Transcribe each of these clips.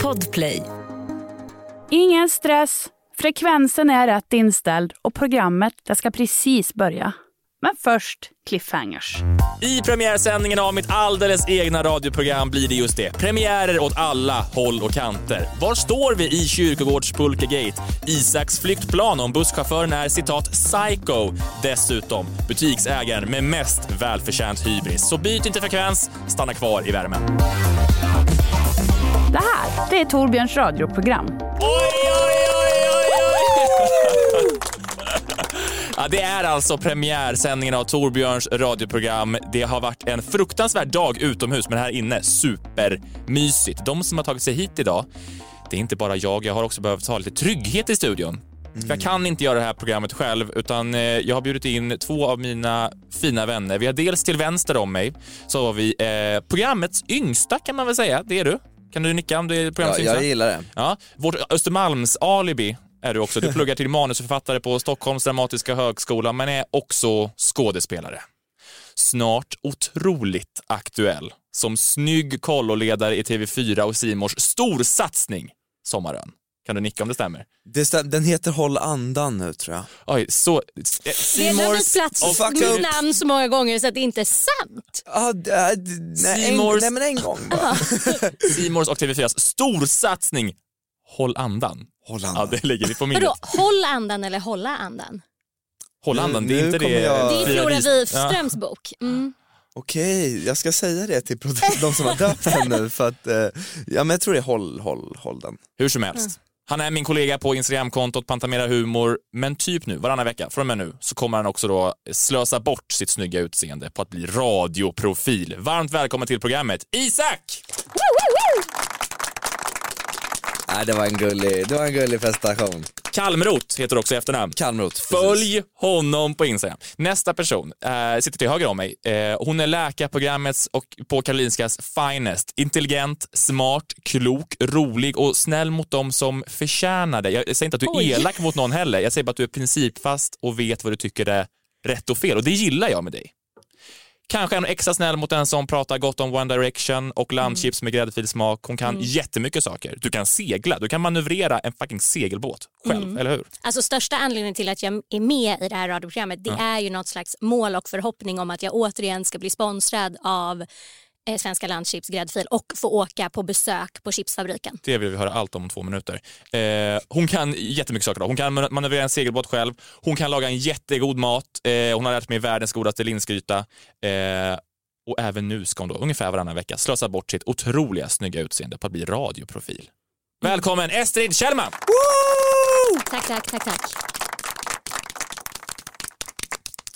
Podplay. Ingen stress. Frekvensen är rätt inställd och programmet det ska precis börja. Men först cliffhangers. I premiärsändningen av mitt alldeles egna radioprogram blir det just det. Premiärer åt alla håll och kanter. Var står vi i Kyrkogårdspulkegate? Isaks flyktplan om busschauffören är citat “psycho”. Dessutom butiksägaren med mest välförtjänt hybris. Så byt inte frekvens, stanna kvar i värmen. Det här det är Torbjörns radioprogram. Oj, oj, oj, oj, oj! Ja, det är alltså premiärsändningen av Torbjörns radioprogram. Det har varit en fruktansvärd dag utomhus, men här inne supermysigt. De som har tagit sig hit idag, det är inte bara jag, jag har också behövt ha lite trygghet i studion. För jag kan inte göra det här programmet själv, utan eh, jag har bjudit in två av mina fina vänner. Vi har dels till vänster om mig, så har vi eh, programmets yngsta kan man väl säga, det är du. Kan du nicka om du är Ja, programmets yngsta? jag gillar det. Ja, vårt Östermalms-alibi är du också. Du pluggar till manusförfattare på Stockholms Dramatiska Högskola men är också skådespelare. Snart otroligt aktuell som snygg kolloledare i TV4 och Simors storsatsning Sommarön. Kan du nicka om det stämmer? det stäm- den heter Håll andan nu tror jag. Oj, så... eh, Det C Mores- dömdes plats och fuck mitt up. namn så många gånger så att det inte är sant. Ah, d- ah, d- nej, en, Seymours- nej men en gång bara. C Mores och TV4s storsatsning Håll andan. Håll Ja, andan. det ligger vi på minnet. Vadå, håll andan eller hålla andan? Håll andan, det är Nu inte kommer det... jag- Det är Frida Flora Wis- Ja. Wifströms bok. Mm. Okej, jag ska säga det till produ- de som har döpt den nu för att, eh, ja men jag tror det är Håll, håll, håll den. Hur som helst. Han är min kollega på Instagramkontot Pantamera Humor, men typ nu, varannan vecka, från och med nu, så kommer han också då slösa bort sitt snygga utseende på att bli radioprofil. Varmt välkommen till programmet, Isak! Nej det var en gullig, det var en gullig prestation. Kalmrot heter också i efternamn. Kalmrot. Följ honom på Instagram. Nästa person eh, sitter till höger om mig. Eh, hon är läkarprogrammets och på Karolinskas finest. Intelligent, smart, klok, rolig och snäll mot dem som förtjänar det. Jag säger inte att du är Oj. elak mot någon heller. Jag säger bara att du är principfast och vet vad du tycker är rätt och fel och det gillar jag med dig. Kanske är hon extra snäll mot den som pratar gott om One Direction och lammchips med gräddfil smak. Hon kan jättemycket saker. Du kan segla, du kan manövrera en fucking segelbåt själv, eller hur? Alltså största anledningen till att jag är med i det här radioprogrammet det är ju något slags mål och förhoppning om att jag återigen ska bli sponsrad av eh, Svenska Landchips gräddfil och få åka på besök på chipsfabriken. Det vill vi höra allt om om två minuter. Eh, hon kan jättemycket saker. då. Hon kan man- manövrera en segelbåt själv. Hon kan laga en jättegod mat. Eh, hon har lärt mig världens godaste linsgryta. Eh, och även nu ska hon då ungefär varannan vecka slösa bort sitt otroliga snygga utseende på att bli radioprofil. Välkommen Estrid Kjellman! Tack, tack, tack, tack.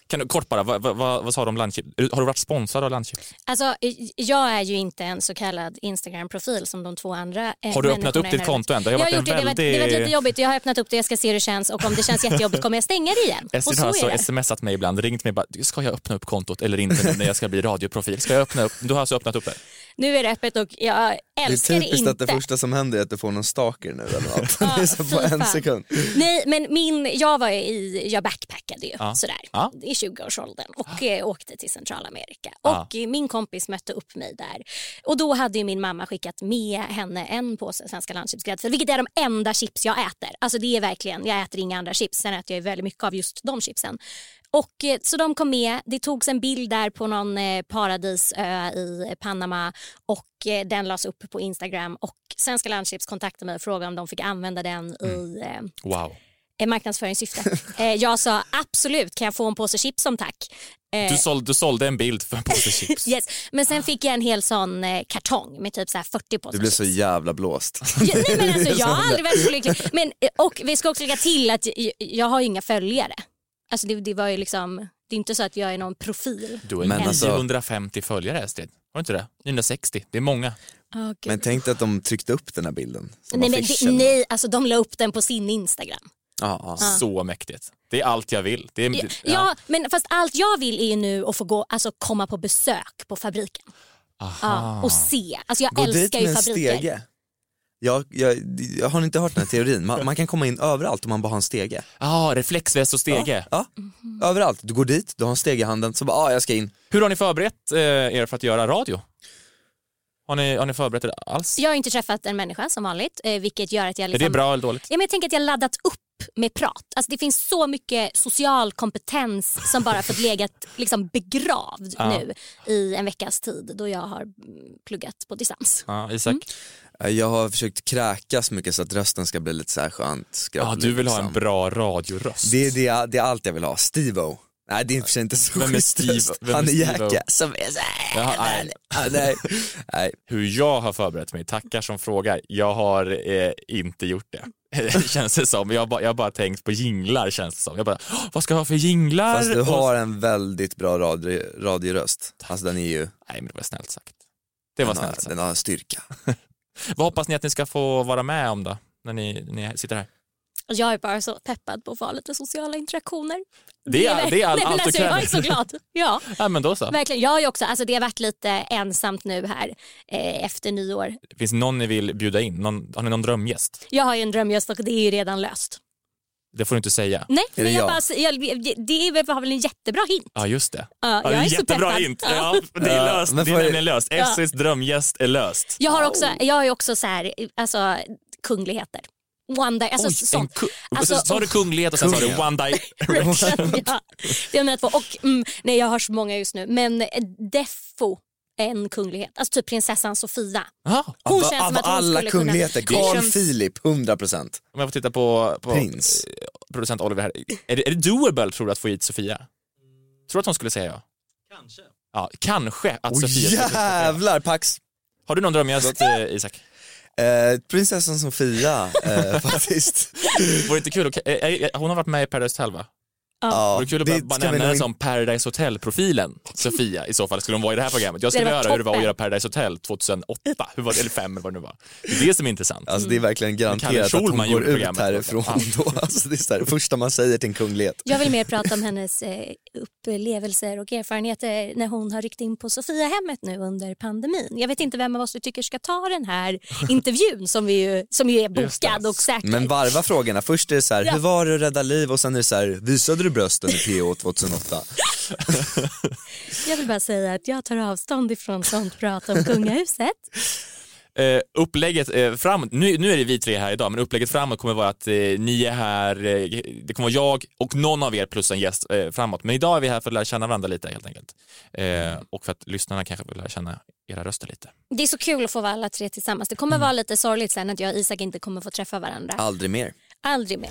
Kan du kort bara, vad, vad, vad, vad sa du om Landchips? Har du varit sponsrad av Landchips? Alltså, eh, jag är ju inte en så kallad Instagram-profil som de två andra. eh, Har du öppnat människorna upp i ditt den här konto än? Det Jag har har varit gjort det, en det, var, det var lite väldigt... jobbigt. Jag har öppnat upp det, jag ska se hur det känns och om det känns jättejobbigt kommer jag stänga det igen. Och Estrid så har är alltså det. smsat mig ibland, ringt mig bara, ska jag öppna upp kontot eller inte nu när jag ska bli radioprofil? Ska jag öppna upp? Du har alltså öppnat upp det? Nu är det öppet och jag Det är älskar det, typiskt inte. att det första som händer är att du får någon stalker nu eller något. Det är så fy på en fan. sekund. Nej, men min, jag var i, jag backpackade ju Ja. sådär Ja. Ah. i 20-årsåldern och eh, åkte till Centralamerika. Ja. Och eh, min kompis mötte upp mig där och då hade ju min mamma skickat med henne en påse svenska landchipsgräddfil, vilket är de enda chips jag äter. Alltså det är verkligen, jag äter inga andra chips, sen äter jag ju väldigt mycket av just de chipsen. Och, eh, så de kom med, det togs en bild där på någon eh, paradisö i Panama och eh, den lades upp på Instagram och Svenska Landchips kontaktade mig och frågade om de fick använda den Mm. i eh, Wow. eh, marknadsföringssyfte. Eh, jag sa absolut, kan jag få en påse chips som tack? Eh, Du, såld, du sålde en bild för en påse chips. yes. Men sen fick jag en hel sån eh, kartong med typ så här 40 påsar Du blev så chips. jävla blåst. Ja, nej, men alltså, jag har aldrig varit så lycklig. Men, eh, och vi ska också lägga till att jag, jag har ju inga följare. Alltså, det, det var ju liksom, det är inte så att jag är någon profil. Du har Men alltså- 950 följare Estrid. Har du inte det? 960, det är många. Oh, Men tänk dig att de tryckte upp den här bilden. som nej, men det, affischen. nej, alltså de la upp den på sin Instagram. Ja, ja. Så mäktigt. Det är allt jag vill. Det är, Ja, ja. ja, men fast allt jag vill är ju nu att få gå, alltså komma på besök på fabriken. Ja, och se. Alltså jag Gå dit älskar med ju en fabriker. stege. Jag, jag, jag har ni inte hört den här teorin, man, man kan komma in överallt om man bara har en stege. Ah, reflexväst och stege. Ja, Mhm. överallt. Du går dit, du har en stege i handen, så bara ah, jag ska in. Hur har ni förberett eh, er för att göra radio? Har ni, har ni förberett er alls? Jag har inte träffat en människa som vanligt, eh, vilket gör att jag... Är Liksom, det bra eller dåligt? Ja, men jag tänker att jag laddat upp med prat. Alltså, det finns så mycket social kompetens som bara fått legat liksom, begravd Ja. nu i en veckas tid då jag har mm, pluggat på distans. Ja, Isak? Mm. Eh, Jag har försökt kräkas mycket så att rösten ska bli lite så här skönt Ja, skraplig, Ah, du vill ha en liksom. bra radioröst. det, är det, jag- det är allt jag vill ha, Steve-O. Nej det är i och för sig inte så Vem är schysst Steve- röst. vem är Han är Steve-O? Jacka som är såhär. Jaha, nej. nej. nej. Hur jag har förberett mig, tackar som frågar. Jag har eh, inte gjort det. känns det som. Jag har bara, jag har bara tänkt på jinglar känns det som. Jag bara, "Åh, vad ska jag ha för jinglar? Fast du Och- har en väldigt bra radio, radioröst. Alltså den är ju, Nej men det var snällt sagt. Det var den, har, snällt sagt. den har en styrka. Vad hoppas ni att ni ska få vara med om då? När ni, ni sitter här. Och Alltså, jag är bara så peppad på att vara lite sociala interaktioner. Det är- verk- det är all- Nej, men allt alltså, du Jag kräver. är så glad. Ja, Ja men då så. verkligen. Jag har ju också, alltså, det har varit lite ensamt nu här eh, efter nyår. Finns det någon ni vill bjuda in? Någon, har ni någon drömgäst? Jag har ju en drömgäst och det är ju redan löst. Det får du inte säga. Nej, det men jag jag? bara, jag, det är, väl- var väl en jättebra hint. Ja just det. Ja, Ja, jag det är är så jättebra peppad. hint. Ja, det är Ja, löst. men Det är får jag- nämligen löst. Ja. Essis drömgäst är löst. Jag har också, jag är också så här, alltså kungligheter. One day, alltså en sånt. ku- Alltså, så sa du kunglighet och sen sa du Kungen. one day. Direction, ja. Det är mina två. Och, mm, nej, jag har så många just nu. Men eh, Defo är en kunglighet. Alltså typ prinsessan Sofia. Jaha. Hon av känns som av att hon alla skulle kungligheter, kunna... Carl känns- Philip, 100%. Om jag får titta på, på Prins. eh, producent Oliver här. Är det, är det doable tror du att få hit Sofia? Tror du att hon skulle säga ja? Kanske. Ja, kanske att Åh Sofia skulle säga ja. jävlar Pax! Har du någon drömgäst eh, Isak? Eh, prinsessan Sofia eh, faktiskt. Vore det inte kul? att- eh, eh, Hon har varit med i Paradise Hotel va? Ja, Vore det kul att bara- bara ska vi nämna henne nog som Paradise Hotel-profilen Sofia i så fall skulle hon vara i det här programmet. Jag skulle Det vilja hade höra varit hur det var att toppen. göra Paradise Hotel 2008, hur var det, eller 5 eller vad det nu var. Det är det som är intressant. Alltså det är verkligen Mm. Kalle garanterat att Schulman hon går gjorde ut programmet. härifrån då. Alltså det är så här, det första man säger till en kunglighet. Jag vill mer prata om hennes eh, upplevelser och erfarenheter när hon har ryckt in på Sofiahemmet nu under pandemin. Jag vet inte vem av oss du tycker ska ta den här intervjun som, vi ju, som ju är Just det. bokad och säker. Men varva frågorna, först är det så här, Ja. hur var det att rädda liv? Och sen är det så här, visade du brösten i PO 2008? Jag vill bara säga att jag tar avstånd ifrån sånt prat om kungahuset. Eh, upplägget eh, framåt, nu, nu är det vi tre här idag, men upplägget framåt kommer vara att eh, ni är här, eh, det kommer vara jag och någon av er plus en gäst eh, framåt. Men idag är vi här för att lära känna varandra lite helt enkelt. Eh, och för att lyssnarna kanske vill lära känna era röster lite. Det är så kul att få vara alla tre tillsammans. Det Mm. kommer vara lite sorgligt sen att jag och Isak inte kommer få träffa varandra. Aldrig mer. Aldrig mer.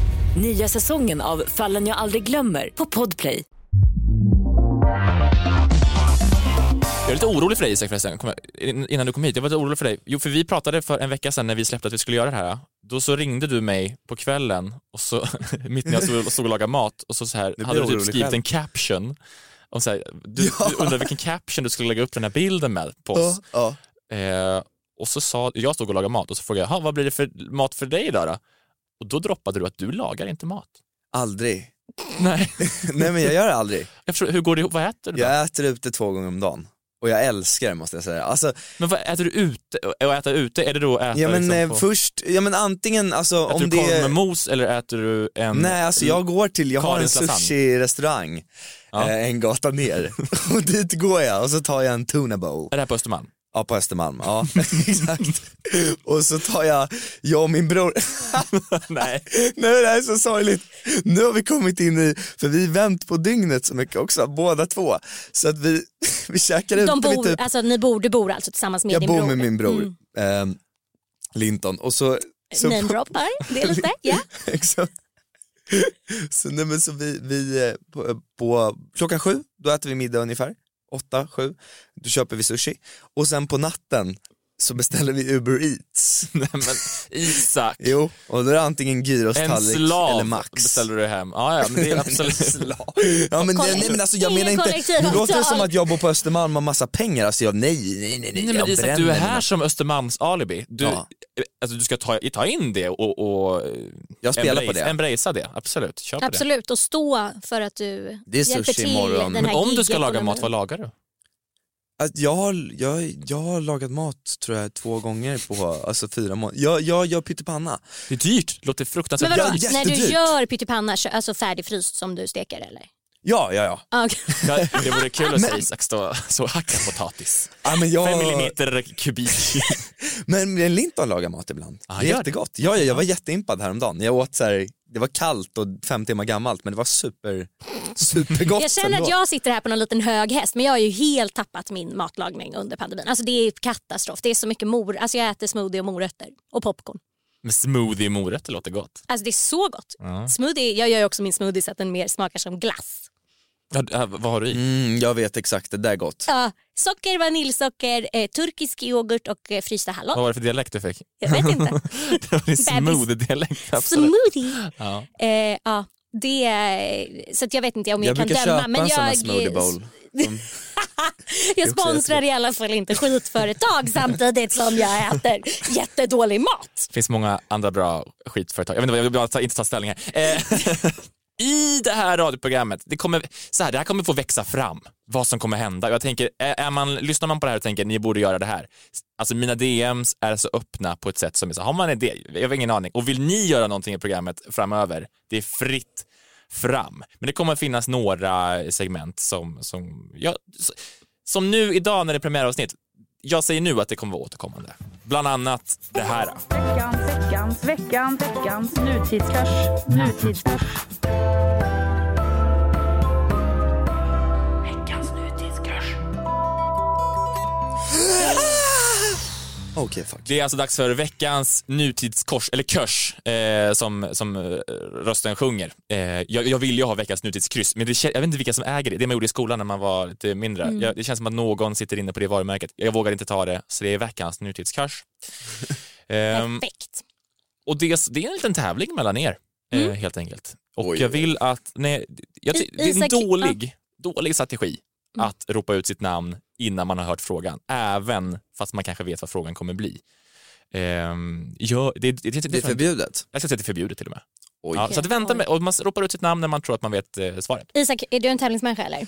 Nya säsongen av Fallen jag aldrig glömmer på Podplay. Jag är lite orolig för dig Isak förresten, kom, jag- in- innan du kom hit. Jag var lite orolig för dig. Jo, för vi pratade för en vecka sedan när vi släppte att vi skulle göra det här. Då så ringde du mig på kvällen, och så, mitt när jag stod, stod och lagade mat, och så, så här, blir hade du typ orolig skrivit själv. en caption. Och så här, du, du undrade vilken caption du skulle lägga upp den här bilden med på oss. Ja. Eh, och så sa, jag stod och lagade mat och så frågade jag, "Jaha, vad blir det för mat för dig idag då? Och då droppade du att du lagar inte mat. Aldrig. Nej, Nej men jag gör det aldrig. jag förstår, hur går det ihop? Vad äter du? då? Jag äter ute två gånger om dagen. Och jag älskar det måste jag säga. Alltså, Men vad äter du ute? Och äta ute, är det då att äta ja men liksom, eh, på, först, ja men antingen alltså äter om du korv det med mos eller äter du en... Nej alltså jag går till, jag har en Karins lasagne. sushi-restaurang Ja. eh, en gata ner. och dit går jag och så tar jag en tuna bowl. Är det här på Östermalm? Ja på Östermalm, ja exakt. Och så tar jag, jag och min bror, Nej. nej det här är så sorgligt. Nu har vi kommit in i, för vi har vänt på dygnet så mycket också, båda två. Så att vi, vi käkar ute De vid bor, typ, alltså, ni bor, du bor alltså tillsammans med jag din bor bror? med min bror Mm. ehm, Linton och så, så Namedroppar, det är lite. Ja. Exakt. Så, nej, men så vi, vi eh, på, på klockan sju, då äter vi middag ungefär, åtta, sju, då köper vi sushi och sen på natten så beställer vi Uber Eats. Nej men Isak, Jo, och då är det antingen en gyrostallrik eller slav Max. beställer du hem. Ja, ja, men det är absolut... slav. Ja, men, Kolla- nej, men alltså, jag Ingen menar inte, nu kollektivavtal. låter det som att jag bor på Östermalm och har massa pengar, alltså jag, nej, nej, nej, nej, Nej, men jag Isak, bränner du är mina här som Östermalms alibi. Du, Ja. alltså, du ska ta, ta in det och, och eh, Jag spelar på embrace- det. embracea det. Absolut, kör på det. Absolut, och stå för att du Det är hjälper sushi till imorgon. den Men här om du ska laga gigekonomin. mat, vad lagar du? Att jag, har, jag, jag har lagat mat tror jag två gånger på alltså, fyra månader. Jag, jag gör pyttipanna. Det är dyrt, låter Men fruktansvärt vadå, Ja, typ. när du jättedyrt. gör pyttipanna, kö- alltså färdigfryst som du steker eller? Ja, ja, ja. Ah, okej. Ja, det vore kul att se Isak stå så hacka potatis. ja, men, jag Fem millimeter kubik. men men Linton lagar mat ibland. Ah, det är gör det? jättegott. Ja, ja, jag var jätteimpad häromdagen. Jag åt så här, det var kallt och fem timmar gammalt men det var super, supergott Jag känner ändå. att jag sitter här på någon liten hög häst men jag har ju helt tappat min matlagning under pandemin. Alltså det är katastrof. Det är så mycket mor. Alltså jag äter smoothie och morötter och popcorn. Men smoothie och morötter låter gott. Alltså det är så gott. Smoothie, jag gör ju också min smoothie så att den mer smakar som glass. Ja, d- äh, vad har du i? Mm, jag vet exakt, det där är gott. Ja, socker, vaniljsocker, eh, turkisk yoghurt och eh, frysta hallon. Vad var det för dialekt du fick? Jag vet inte. Det var din smoothie-dialekt. Absolut. smoothie. Ja. Eh, ja, det, är- så att jag vet inte om jag, Jag kan brukar döma. köpa men en sån här jag, smoothie bowl. Som, Jag också sponsrar i alla fall inte skitföretag samtidigt som jag äter jättedålig mat. Det finns många andra bra skitföretag. Jag vet inte, jag vill bara ta, inte ta ställning här. Eh, I det här radioprogrammet, det kommer, så här, det här kommer få växa fram, vad som kommer hända. Jag tänker, är är man, lyssnar man på det här och tänker ni borde göra det här, alltså mina DMs är så öppna på ett sätt som är så har man en idé, jag har ingen aning, och vill ni göra någonting i programmet framöver, det är fritt fram. Men det kommer finnas några segment som, som, jag, som nu idag när det är premiäravsnitt, jag säger nu att det kommer vara återkommande. Bland annat det här. Veckans, veckans, veckans, veckans nutidskurs. Nutidskurs. Veckans nutidskurs. Okej, fuck. Det är alltså dags för veckans nutidskors, eller körs, eh, som, som eh, rösten sjunger. Eh, jag, jag vill ju ha veckans nutidskryss, men det, kän- jag vet inte vilka som äger det. Det man gjorde i skolan när man var lite mindre. Jag, det känns som att någon sitter inne på det varumärket. Jag vågar inte ta det, så det är veckans nutidskurs. Ehm, Perfekt. och det, det är en liten tävling mellan er, eh, helt enkelt. Och Oj, jag oj, oj. vill att, nej, jag, ty- I- det är en Isak- dålig, dålig strategi att ropa ut sitt namn innan man har hört frågan, även fast man kanske vet vad frågan kommer bli. Ehm, ja, det, det, det, det, Det är förbjudet. jag ska säga att det är förbjudet till och med. Oj. Ja, så att vänta med, och man ropar ut sitt namn när man tror att man vet eh, svaret. Isak, är du en tävlingsmänniska eller?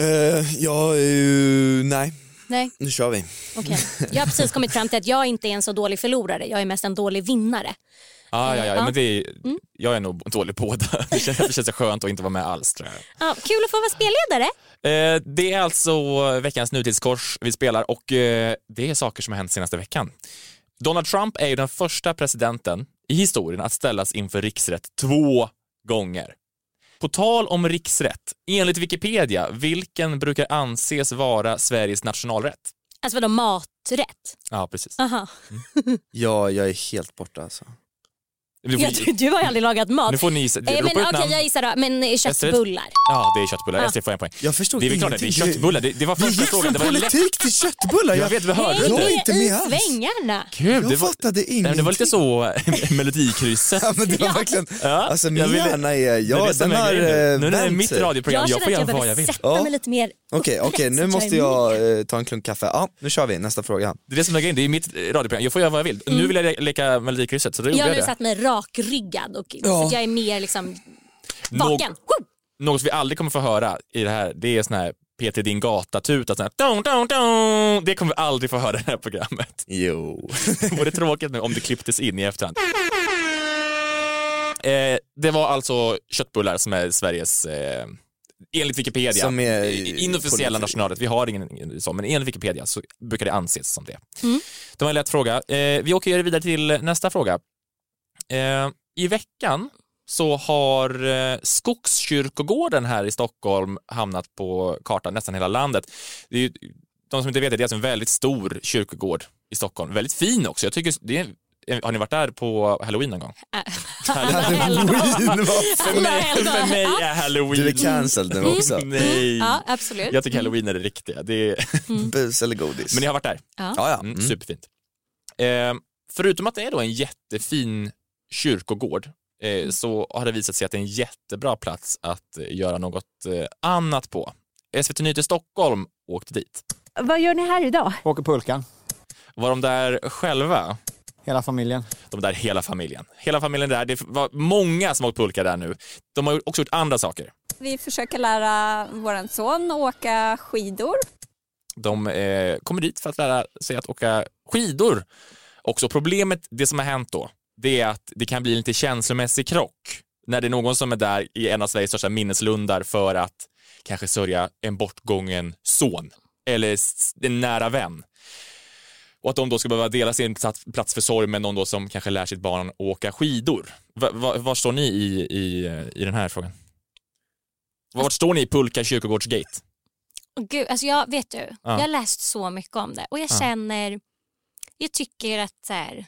Eh, ja, eh, nej, Nej, nu kör vi. okej. Jag har precis kommit fram till att jag inte är en så dålig förlorare. Jag är mest en dålig vinnare. Ah, ja, ja, Ja. Men det är, Jag är nog dålig på båda. Det känns, det känns så skönt att inte vara med alls tror jag. Ja, kul att få vara spelledare. Eh, Det är alltså veckans nutidskors vi spelar och eh, det är saker som har hänt senaste veckan. Donald Trump är ju den första presidenten i historien att ställas inför riksrätt två gånger. På tal om riksrätt, enligt Wikipedia, vilken brukar anses vara Sveriges nationalrätt? Alltså vadå maträtt? Ja, precis. Aha. Ja, jag är helt borta alltså. Du får, Jag, tror- du har ju aldrig lagat mat. nu får ni gissa. Eh, men Ropa okej, ut namn. jag gissar då. Men eh, köttbullar. Ja, det är köttbullar. Ah. Estrid får en poäng. Jag förstod Det är väl klart att det är köttbullar. Det, det var Vi första gick frågan. från Det var lätt. politik till köttbullar. Jag vet, vi hörde Häng Jag är inte. inte i med alls. svängarna. Gud, det Jag var, fattade nej, ingenting. men det var lite så Melodikrysset. Ja, men det var verkligen, Ja, alltså min jag ville- hjärna är, det är ja det som den är har grejen nu. Nu när eh, det är vänt mitt sig. radioprogram, Jag jag, får känner att jag göra vad jag behöver vill. sätta Ja. mig lite mer Okej, upprätt okej, så nu att måste är jag med. eh, ta en klunk kaffe. Ja, nu kör vi, nästa fråga. Det är det som är grejen, det är mitt eh, radioprogram, jag får göra vad jag vill. Mm. Nu vill jag le- leka Melodikrysset så då Jag gjorde har jag nu det. satt mig rakryggad och så att jag är mer liksom Någ- vaken. Woo! Något vi aldrig kommer få höra i det här, det är sån här Peter Din Gata-tuta. sån här dong, dong, dong. Det kommer vi aldrig få höra i det här programmet. Jo. Det vore tråkigt nu om det klipptes in i efterhand. Eh, det var alltså köttbullar som är Sveriges, eh, enligt Wikipedia, Som är- eh, inofficiella politik. nationalrätt. Vi har ingen- ingen sån, men enligt Wikipedia så brukar det anses som det. Det var en lätt fråga. Eh, vi åker vidare till nästa fråga. Eh, I veckan så har eh, Skogskyrkogården här i Stockholm hamnat på kartan nästan hela landet. Det är ju, de som inte vet det, det är alltså en väldigt stor kyrkogård i Stockholm. Väldigt fin också. Jag tycker det är, har ni varit där på halloween någon gång? Halloween, vad fan. För mig, Halloween. för mig är halloween... Du är cancelled nu också. Mm, Nej. Ja, absolut. Jag tycker halloween är det riktiga. Det är, mm. Bus eller godis. men ni har varit där? Ja, ja. Mm, Mm. Superfint. Eh, förutom att det är då en jättefin kyrkogård eh, Mm. så har det visat sig att det är en jättebra plats att eh, göra något eh, annat på. SVT Nyheter Stockholm åkte dit. Vad gör ni här idag? Åker pulkan. Var de där själva? Hela familjen. De där hela familjen. Hela familjen där. Det var många som åkt pulka där nu. De har också gjort andra saker. Vi försöker lära vår son åka skidor. De eh, kommer dit för att lära sig att åka skidor. Också problemet, det som har hänt då, det är att det kan bli lite känslomässig krock när det är någon som är där i en av Sveriges största minneslundar för att kanske sörja en bortgången son eller s- en nära vän. Och att de då ska behöva dela sin plats- plats för sorg med någon då som kanske lär sitt barn att åka skidor. Va, va, var står ni i, i, i den här frågan? Vart står ni i Pulka kyrkogårdsgate? Åh, Gud, alltså jag, vet du, Ja. jag har läst så mycket om det och jag Ja. känner, jag tycker att så här,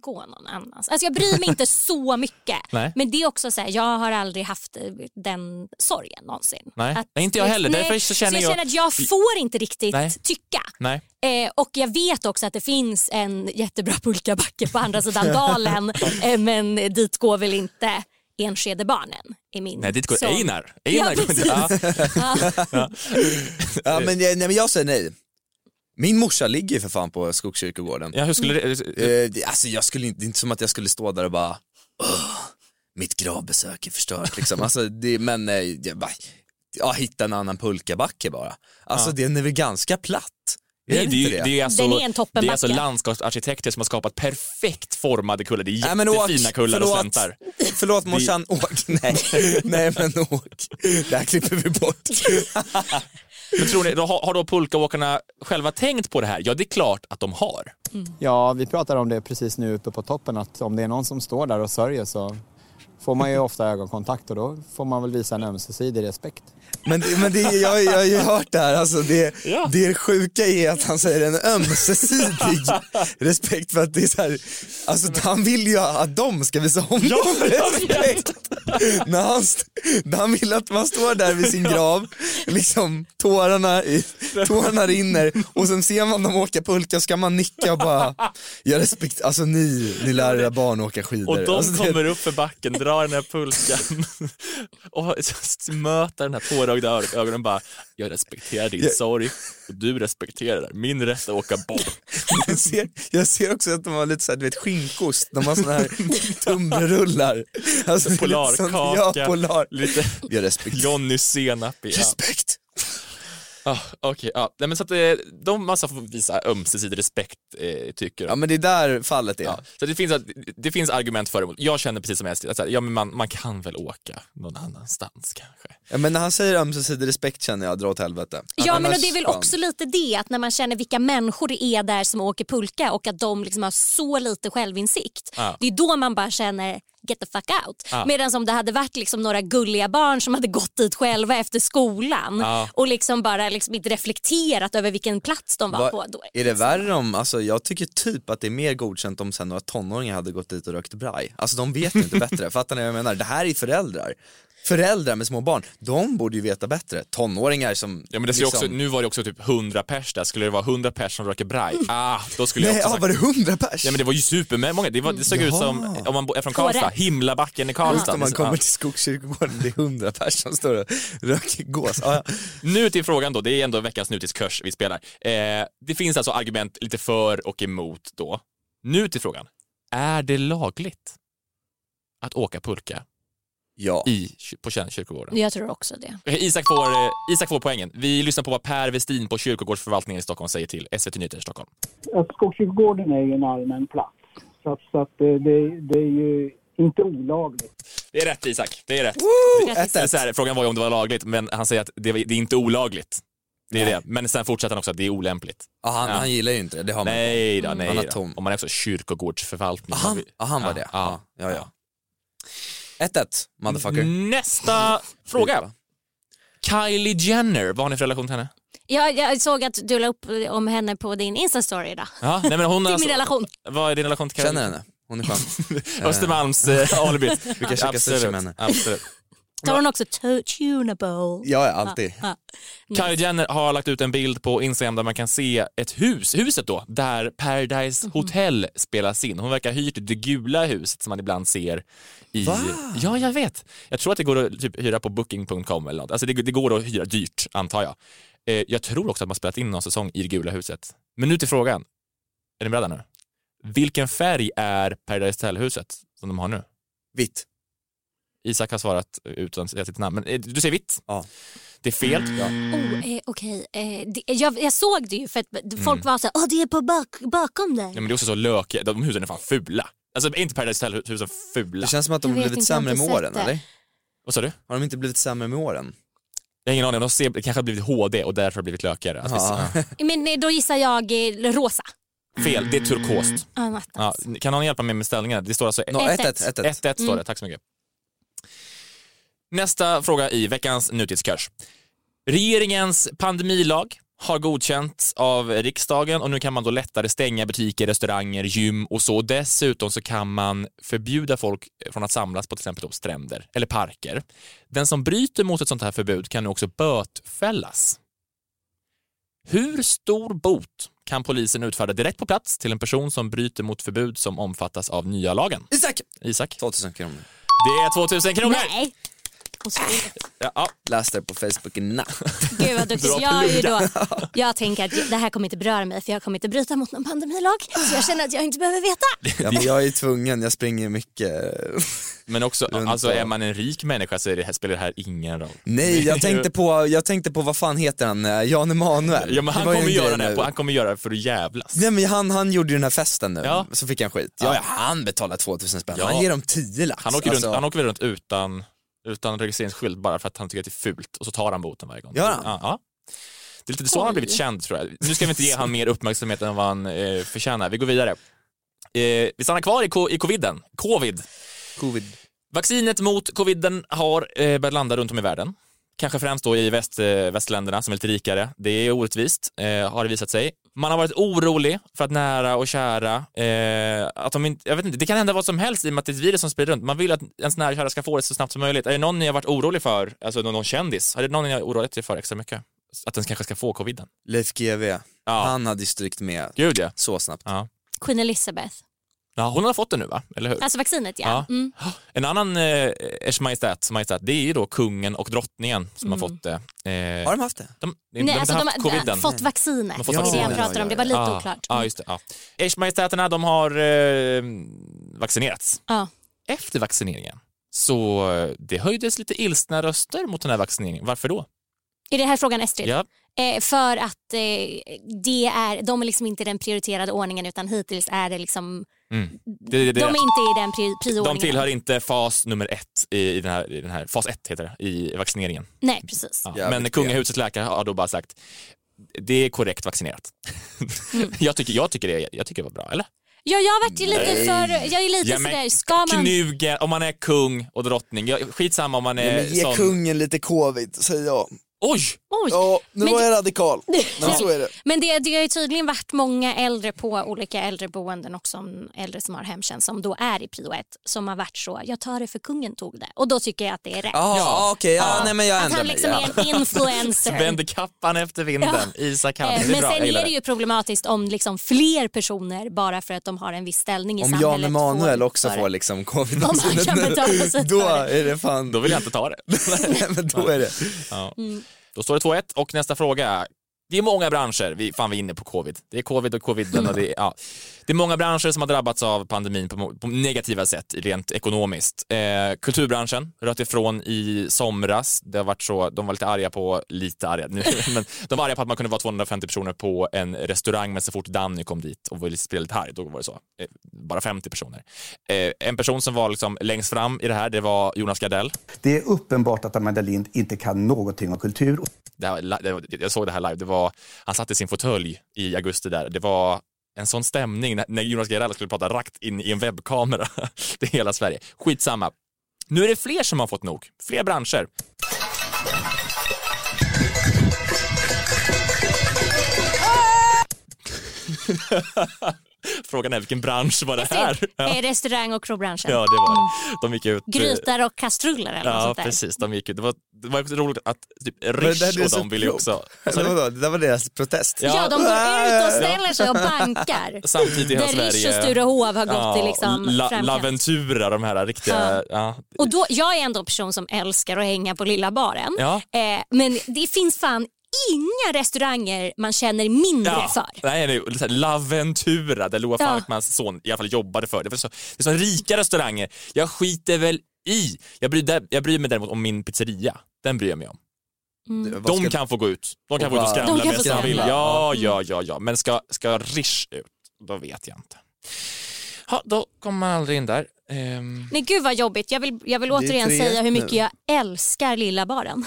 gå någon annans. Alltså jag bryr mig inte så mycket. Nej. Men det är också så här, jag har aldrig haft eh, den sorgen någonsin. Nej, Att- nej inte jag heller. Nej, Därför så så känner jag, jag... känner att jag får inte riktigt Nej. tycka. Nej. Eh, och jag vet också att det finns en jättebra pulkabacke på andra sidan dalen eh, men dit går väl inte Enskedebarnen i min Nej, dit går sång. Einar. Einar Ja, går dit. Ja. Ja, men, jag- nej, men jag säger nej. Min morsa ligger ju för fan på Skogskyrkogården. Ja, hur skulle det... Eh, det- alltså jag skulle inte, det är inte som att jag skulle stå där och bara "Åh, mitt gravbesök är förstört liksom. alltså, det, men eh, jag bara, ja, hitta en annan pulkabacke bara. Alltså den är väl ganska platt? Är Nej, den det, är inte ju- det är alltså, Den är en det toppenbacke. är alltså landskapsarkitekter som har skapat perfekt formade kullar. Det är Nej, men åk, jättefina kullar och förlåt. släntar. Förlåt morsan, åk. Nej. nej men åk. Det här klipper vi bort. Men tror ni, då har, har då pulkaåkarna själva tänkt på det här? Ja, det är klart att de har. Ja, vi pratar om det precis nu uppe på toppen att om det är någon som står där och sörjer så får man ju ofta ögonkontakt och då får man väl visa en ömsesidig respekt. Men, men det, jag, jag har ju hört det här, alltså det, Ja. det sjuka är att han säger en ömsesidig respekt för att det är så här, alltså han vill ju att de ska visa honom respekt. När han, st- när han vill att man står där vid sin grav, liksom tårarna, i, tårarna rinner och sen ser man dem åka pulka ska man nicka och bara, jag respekt, alltså ni, ni lär era barn att åka skidor. Och de alltså, det- kommer upp för backen, drar den här pulkan och möter den här tårögda ö- ögonen bara Jag respekterar din sorg och du respekterar min rätt att åka bort. Jag ser, jag ser också att de har lite såhär, du vet skinkost, de har såna här tunnbrödsrullar. Alltså, det är lite sånt- Polarkaka. Ja, polar. Lite Jag respekt. Johnny Senap i ja. Respekt. Ah, Okej, ja. Nej, men så att eh, de alltså får visa ömsesidig respekt eh, tycker Ja de. men det är där fallet är. Ja. Så det finns, att- det finns argument för och emot. Jag känner precis som helst, att så här, ja, men man, man kan väl åka någon annanstans kanske. Ja, men när han säger ömsesidig respekt känner jag dra åt helvete. Ja Annars- men och det är väl fan. också lite det att när man känner vilka människor det är där som åker pulka och att de liksom har så lite självinsikt. Ja. Det är då man bara känner get the fuck out. Ja. Medan om det hade varit liksom några gulliga barn som hade gått dit själva efter skolan Ja. och liksom bara liksom inte reflekterat över vilken plats de var Vad- på. Då är liksom. Är det värre om, alltså jag tycker typ att det är mer godkänt om sen några tonåringar hade gått dit och rökt braj. Alltså de vet ju inte bättre, fattar ni vad jag menar? Det här är föräldrar. Föräldrar med små barn, de borde ju veta bättre. Tonåringar som liksom- Ja, men det skulle också, nu var det också typ 100 pers där, skulle det vara 100 pers som röker braj, ah, då skulle jag Nej, också ja, sagt, var det hundra pers? Ja men det var ju supermånga, det, var, det såg ut som, om man bo- är från Kåre. Karlstad, Himlabacken i Just Karlstad. när Alltså, man Det- ja. kommer till Skogskyrkogården, det är hundra personer som står och röker gås. Ja, ja. Nu till frågan då, det är ändå veckans nutidskurs vi spelar. Eh, det finns alltså argument lite för och emot då. Nu till frågan, är det lagligt att åka pulka ja. i, på kyrk- kyrkogården? Jag tror också det. Okej, Isak, får, eh, Isak får poängen. Vi lyssnar på vad Per Westin på kyrkogårdsförvaltningen i Stockholm säger till SVT Nyheter i Stockholm. att Skogskyrkogården är ju en allmän plats. Så, att, så att eh, det, det är ju inte olagligt. Det är rätt Isak, det är rätt. Ett, Det är ett. så här, frågan var ju om det var lagligt, men han säger att det, var- det är inte olagligt. Det är det. Men sen fortsätter han också att det är olämpligt. Ja, han, Ja. han gillar ju inte det, det har man. Nej då, nej Mm. Han är då. tom. Om man är också kyrkogårdsförvaltning. Ah, han, Man- ah, han var det. Ja, ja, ja. 1-1, motherfucker. Nästa Mm, fråga. Kylie Jenner, vad har ni för relation till henne? Jag, jag såg att du la upp om henne på din Insta-story idag. Ja, nej, men hon Det har är alltså- min relation. Vad är din relation till Kylie? Känner henne, hon är skön. Östermalms eh, alibi. Vi kan käka sushi med henne. Absolut. Tar hon också tu- tunable? Eh, Ja, ja, alltid. Kylie Jenner har lagt ut en bild på Instagram där man kan se ett hus, huset då, där Mhm. Paradise Hotel spelas in. Hon verkar ha hyrt det gula huset som man ibland ser i... Va? Ja, jag vet. Jag tror att det går att typ, hyra på booking.com eller något. Alltså det, det går att hyra dyrt, antar jag. Eh, jag tror också att man spelat in någon säsong i det gula huset. Men nu till frågan. Är ni beredda nu? Vilken färg är Paradise Hotel-huset som de har nu? Vitt. Isak har svarat eh, utan att säga sitt namn, men eh, du säger vitt. Ja. Mm. Det är fel. Mm. Oh, eh, Okej, eh, det- jag, jag såg det ju för att folk var så här, åh det är på bak, bakom dig. Mm. Ja, men det är också så lök, de husen är fan fula. Alltså är inte Paradise Hotel-husen fula? Det känns som att de Jag har vet blivit inte, jag har sämre med inte sett åren det. eller? Vad sa du? Har de inte blivit sämre med åren? Jag har ingen aning, de ser, det kanske har blivit HD och därför har det blivit lökigare. Alltså, Ja. visst, Men eh, då gissar jag eh, rosa. ja. Fel, det är turkost. Ja, något Ja, annat. kan någon hjälpa mig med ställningarna? Det står alltså Mm. Nå, 1-1 Ett, 1-1, ett. Mm. 1-1. står det, tack så mycket. Nästa fråga i veckans nutidskurs. Regeringens pandemilag har godkänts av riksdagen och nu kan man då lättare stänga butiker, restauranger, gym och så. Dessutom så kan man förbjuda folk från att samlas på till exempel då stränder eller parker. Den som bryter mot ett sånt här förbud kan nu också bötfällas. Hur stor bot kan polisen utfärda direkt på plats till en person som bryter mot förbud som omfattas av nya lagen? Isak! Isak? 2000 kronor. Det är 2000 kronor! Nej. Otroligt. Ja, ja. Läste det på Facebook i natt. Gud vad duktig. Bra Jag, är ju då, plugga. jag tänker att det här kommer inte beröra mig för jag kommer inte bryta mot någon pandemilag. Så jag känner att jag inte behöver veta. Ja, men jag är tvungen, jag springer mycket. Men också, Runt alltså och- är man en rik människa så är det, spelar det här ingen roll. Nej, jag tänkte på, jag tänkte på vad fan heter han, Eh, Jan Emanuel? Ja, men han, var ju kommer en grej göra det här nu. på, han kommer göra det för att jävlas. Nej men han, han gjorde ju den här festen nu, Ja. så fick han skit. Ja. Ja, ja han betalar 2000 spänn, Ja. han ger dem 10 lax. Han åker, Alltså, runt, han åker väl runt utan, utan registreringsskylt bara för att han tycker att det är fult och så tar han boten varje gång. Gör han? Ja, ja. Det är lite så han har blivit känd tror jag. Nu ska vi inte ge han mer uppmärksamhet än vad han eh, förtjänar. Vi går vidare. Eh, vi stannar kvar i, co- i coviden. Covid. Covid. Vaccinet mot coviden har eh, börjat landa runt om i världen. Kanske främst då i väst, eh, västländerna som är lite rikare. Det är orättvist, eh, har det visat sig. Man har varit orolig för att nära och kära, eh, att de inte, jag vet inte, det kan hända vad som helst i och med att det är ett virus som sprider runt. Man vill att ens nära och kära ska få det så snabbt som möjligt. Är det någon ni har varit orolig för, alltså någon, någon kändis? Är det någon ni har oroat er för extra mycket? Att den kanske ska få coviden? Leif GW, Ja, han hade ju strykt med gud ja. så snabbt. Queen Elizabeth. ja. Hon har fått det nu va, eller hur? Alltså vaccinet ja. Ja. Mm. En annan eh, ers majestät, majestät, det är ju då kungen och drottningen som har fått det. Eh, Har de haft det? De, de, Mm. Nej, de, alltså har de haft har coviden. Mm. d- fått vaccinet. De har Det fått är det jag vaccinet. pratar om. Det var lite Ah, oklart. Mm. Ja, just det. Ja. Ers-majestäterna de har eh, vaccinerats. Ja. Efter vaccineringen så eh, det höjdes lite ilskna röster mot den här vaccineringen. Varför då? Är det här frågan Estrid? Ja, Eh, för att eh, det är, de är liksom inte i den prioriterade ordningen utan hittills är det liksom, mm. det, det, de är det. inte i den pri- De prioordningen. tillhör inte fas nummer ett i, i, den, här, i den här, fas ett heter det, i vaccineringen. Nej, precis. Ja. Jävligt Men kungahusets läkare har då bara sagt det är korrekt vaccinerat. jag, tycker, jag, tycker det, jag tycker det var bra, eller? Ja, jag har varit ju lite för, jag är lite Ja, men sådär, ska man... Knugen, om man är kung och drottning, ja, skitsamma om man Nej, är men ge sån- kungen lite covid, säger jag. Oj! Oj. Ja, nu Men var det- jag radikal. Men Ja. så är det. Men det, det har ju tydligen varit många äldre på olika äldreboenden och som äldre som har hemtjänst som då är i prio ett som har varit så, jag tar det för kungen tog det. Och då tycker jag att det är rätt. Jaha, Ja. ja. okej, ja, nej men jag att ändrar han mig. liksom Ja. är en influencer. Vänder kappan efter vinden, Isak Hall. Eh, Det är Men bra, jag sen gillar är det ju problematiskt om liksom fler personer bara för att de har en viss ställning i Om samhället. Jan Emanuel får också för- får liksom covid Om han kan betala sig då för är det fan, Då vill jag inte ta det. nej, men då är det. Ja. Då står det 2-1 och nästa fråga. Det är många branscher, vi, fan vi är inne på covid. Det är covid och coviden och det är, ja. Det är många branscher som har drabbats av pandemin på, mo- på negativa sätt rent ekonomiskt. Eh, kulturbranschen röt ifrån i somras. Det har varit så, de var lite arga på, lite arga nu, men de var arga på att man kunde vara 250 personer på en restaurang men så fort Danny kom dit och ville spela lite här, då var det så. Eh, bara 50 personer. Eh, en person som var liksom längst fram i det här, det var Jonas Gardell. Det är uppenbart att Amanda Lind inte kan någonting om kultur. det här, li- det var- jag såg det här live, det var, han satt i sin fåtölj i augusti där, det var en sån stämning när- när Jonas Gardell skulle prata rakt in i en webbkamera. Det är hela Sverige. Skitsamma. Nu är det fler som har fått nog, fler branscher. Frågan är vilken bransch var det här? Ja, Eh, Restaurang och krogbranschen. ja det var det. De gick ut. eh, Grytar och kastruller eller något Ja, sånt där. precis. De gick ut. Det var, det var också roligt att typ, det här Rish är och så de ville ju prov. också... Vad sa Eller du? vadå, det där var deras protest. Ja, de går ut och ställer sig och bankar. Samtidigt i hela Där Sverige. Riche och Sturehov har gått Ja, i liksom La- framkant. Laventura, de här riktiga... Ja. Och då, jag är ändå en person som älskar att hänga på lilla baren. Ja. Eh, men det finns fan inga restauranger man känner mindre för. Nej, det är så här Laventura där Loa Ja. Falkmans son i alla fall jobbade för. Det är så, det är så rika restauranger. Jag skiter väl i. Jag bryr, där- jag bryr mig däremot om min pizzeria. Den bryr jag mig om. Mm. Vad De ska- kan få gå ut. De kan Och få gå ut och bara- De skramla kan få bäst de vill. skramla. Mm. Ja, ja, ja, ja. Men ska, ska Rish ut, då vet jag inte. Ja, då kommer man aldrig in där. Ehm, Nej gud vad jobbigt. Jag vill, jag vill Det är återigen 3-1 säga hur mycket nu. jag älskar lilla baren.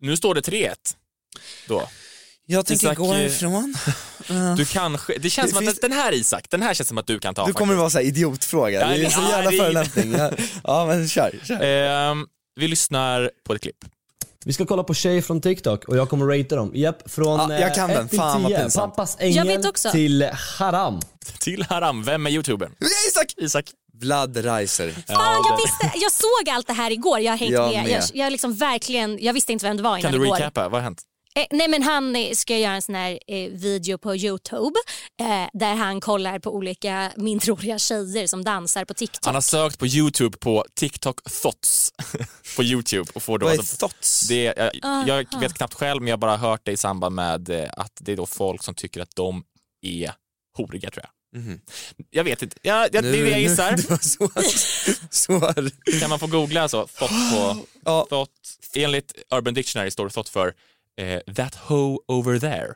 nu står det 3-1. Då. Jag tänker Isak, gå eh, härifrån. Du kanske, det känns Det som att finns- den här Isak, den här känns som att du kan ta Du kommer faktiskt. vara såhär idiotfråga, Ja, det är det- så ja, jävla det är- förolämpning. Ja, ja men kör, kör. Ehm, vi lyssnar på ett klipp. Vi ska kolla på tjejer från TikTok och jag kommer ratea dem. Japp, från Ja, jag kan eh, den. ett till Fan, vad 10. pinsamt. Pappas Jag ängel vet också. till haram. Till Haram, vem är youtubern? Isak! Isak. Vlad Reiser. Fan, jag, det- visste, jag såg allt det här igår, jag har hängt Jag med. med. Jag, jag, liksom verkligen, jag visste inte vem det var innan Kan du igår. recapa, vad har hänt? Eh, nej men han eh, ska göra en sån här eh, video på Youtube eh, där han kollar på olika mindreåriga tjejer som dansar på TikTok. Han har sökt på youtube på TikTok thoughts på youtube och får då... Vad är alltså- thoughts? Det, jag, jag Aha. vet knappt själv men jag har bara hört det i samband med eh, att det är då folk som tycker att de är horiga tror jag. Mhm. Jag vet inte, jag, jag, det är det jag gissar. det var så, så, Kan man få googla så? Thought på, Ja. thought, enligt Urban Dictionary står thought för eh, that hoe over there.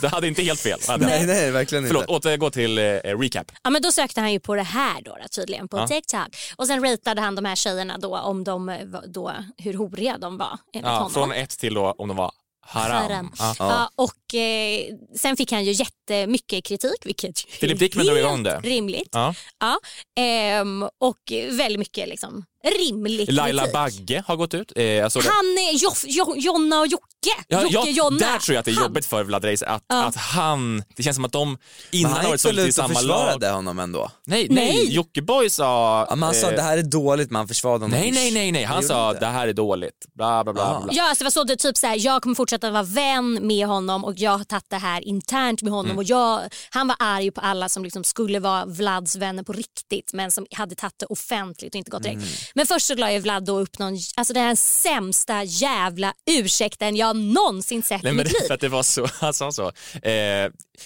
Så Det hade inte helt fel. Hade jag. nej nej verkligen Förlåt, inte. återgå till eh, recap. Ja, men då sökte han ju på det här då, då tydligen på Ja. TikTok och sen ratade han de här tjejerna då om de eh, var- då, hur horiga de var enligt Ja, honom. från ett till då om de var haram. Haram. Ja. Ja, och eh, sen fick han ju jättemycket kritik vilket ju Filip är Dickman drog igång helt det. Rimligt. Ja. Ja, ehm, och väldigt mycket liksom rimlig Laila kritik. Bagge har gått ut. Eh, jag såg det. Han är Joff, jo, Jonna och Jocke. Ja, Jocke ja, Jonna. Där tror jag att det är Han- jobbigt för Vlad Reis att, Ja. att han, det känns som att de Men innan har han varit gick så väl lite i ut och samma lag. försvarade honom ändå? Nej, nej, Nej. Jockiboi sa... Ja, men han sa eh, det här är dåligt men han försvarade honom. Nej, nej, nej, nej. han gjorde sa inte. det här är dåligt. Bla, bla, bla. Ja. bla. Ja, alltså det var så det typ så här, jag kommer fortsätta vara vän med honom och jag har tagit det här internt med honom Mm. och jag, han var arg på alla som liksom skulle vara Vlads vänner på riktigt men som hade tagit det offentligt och inte gått Mm. direkt. Men först så la ju Vlad då upp någon, alltså den här sämsta jävla ursäkten jag någonsin sett Nej, i men mitt det, för liv. att det var så, han sa så. Eh,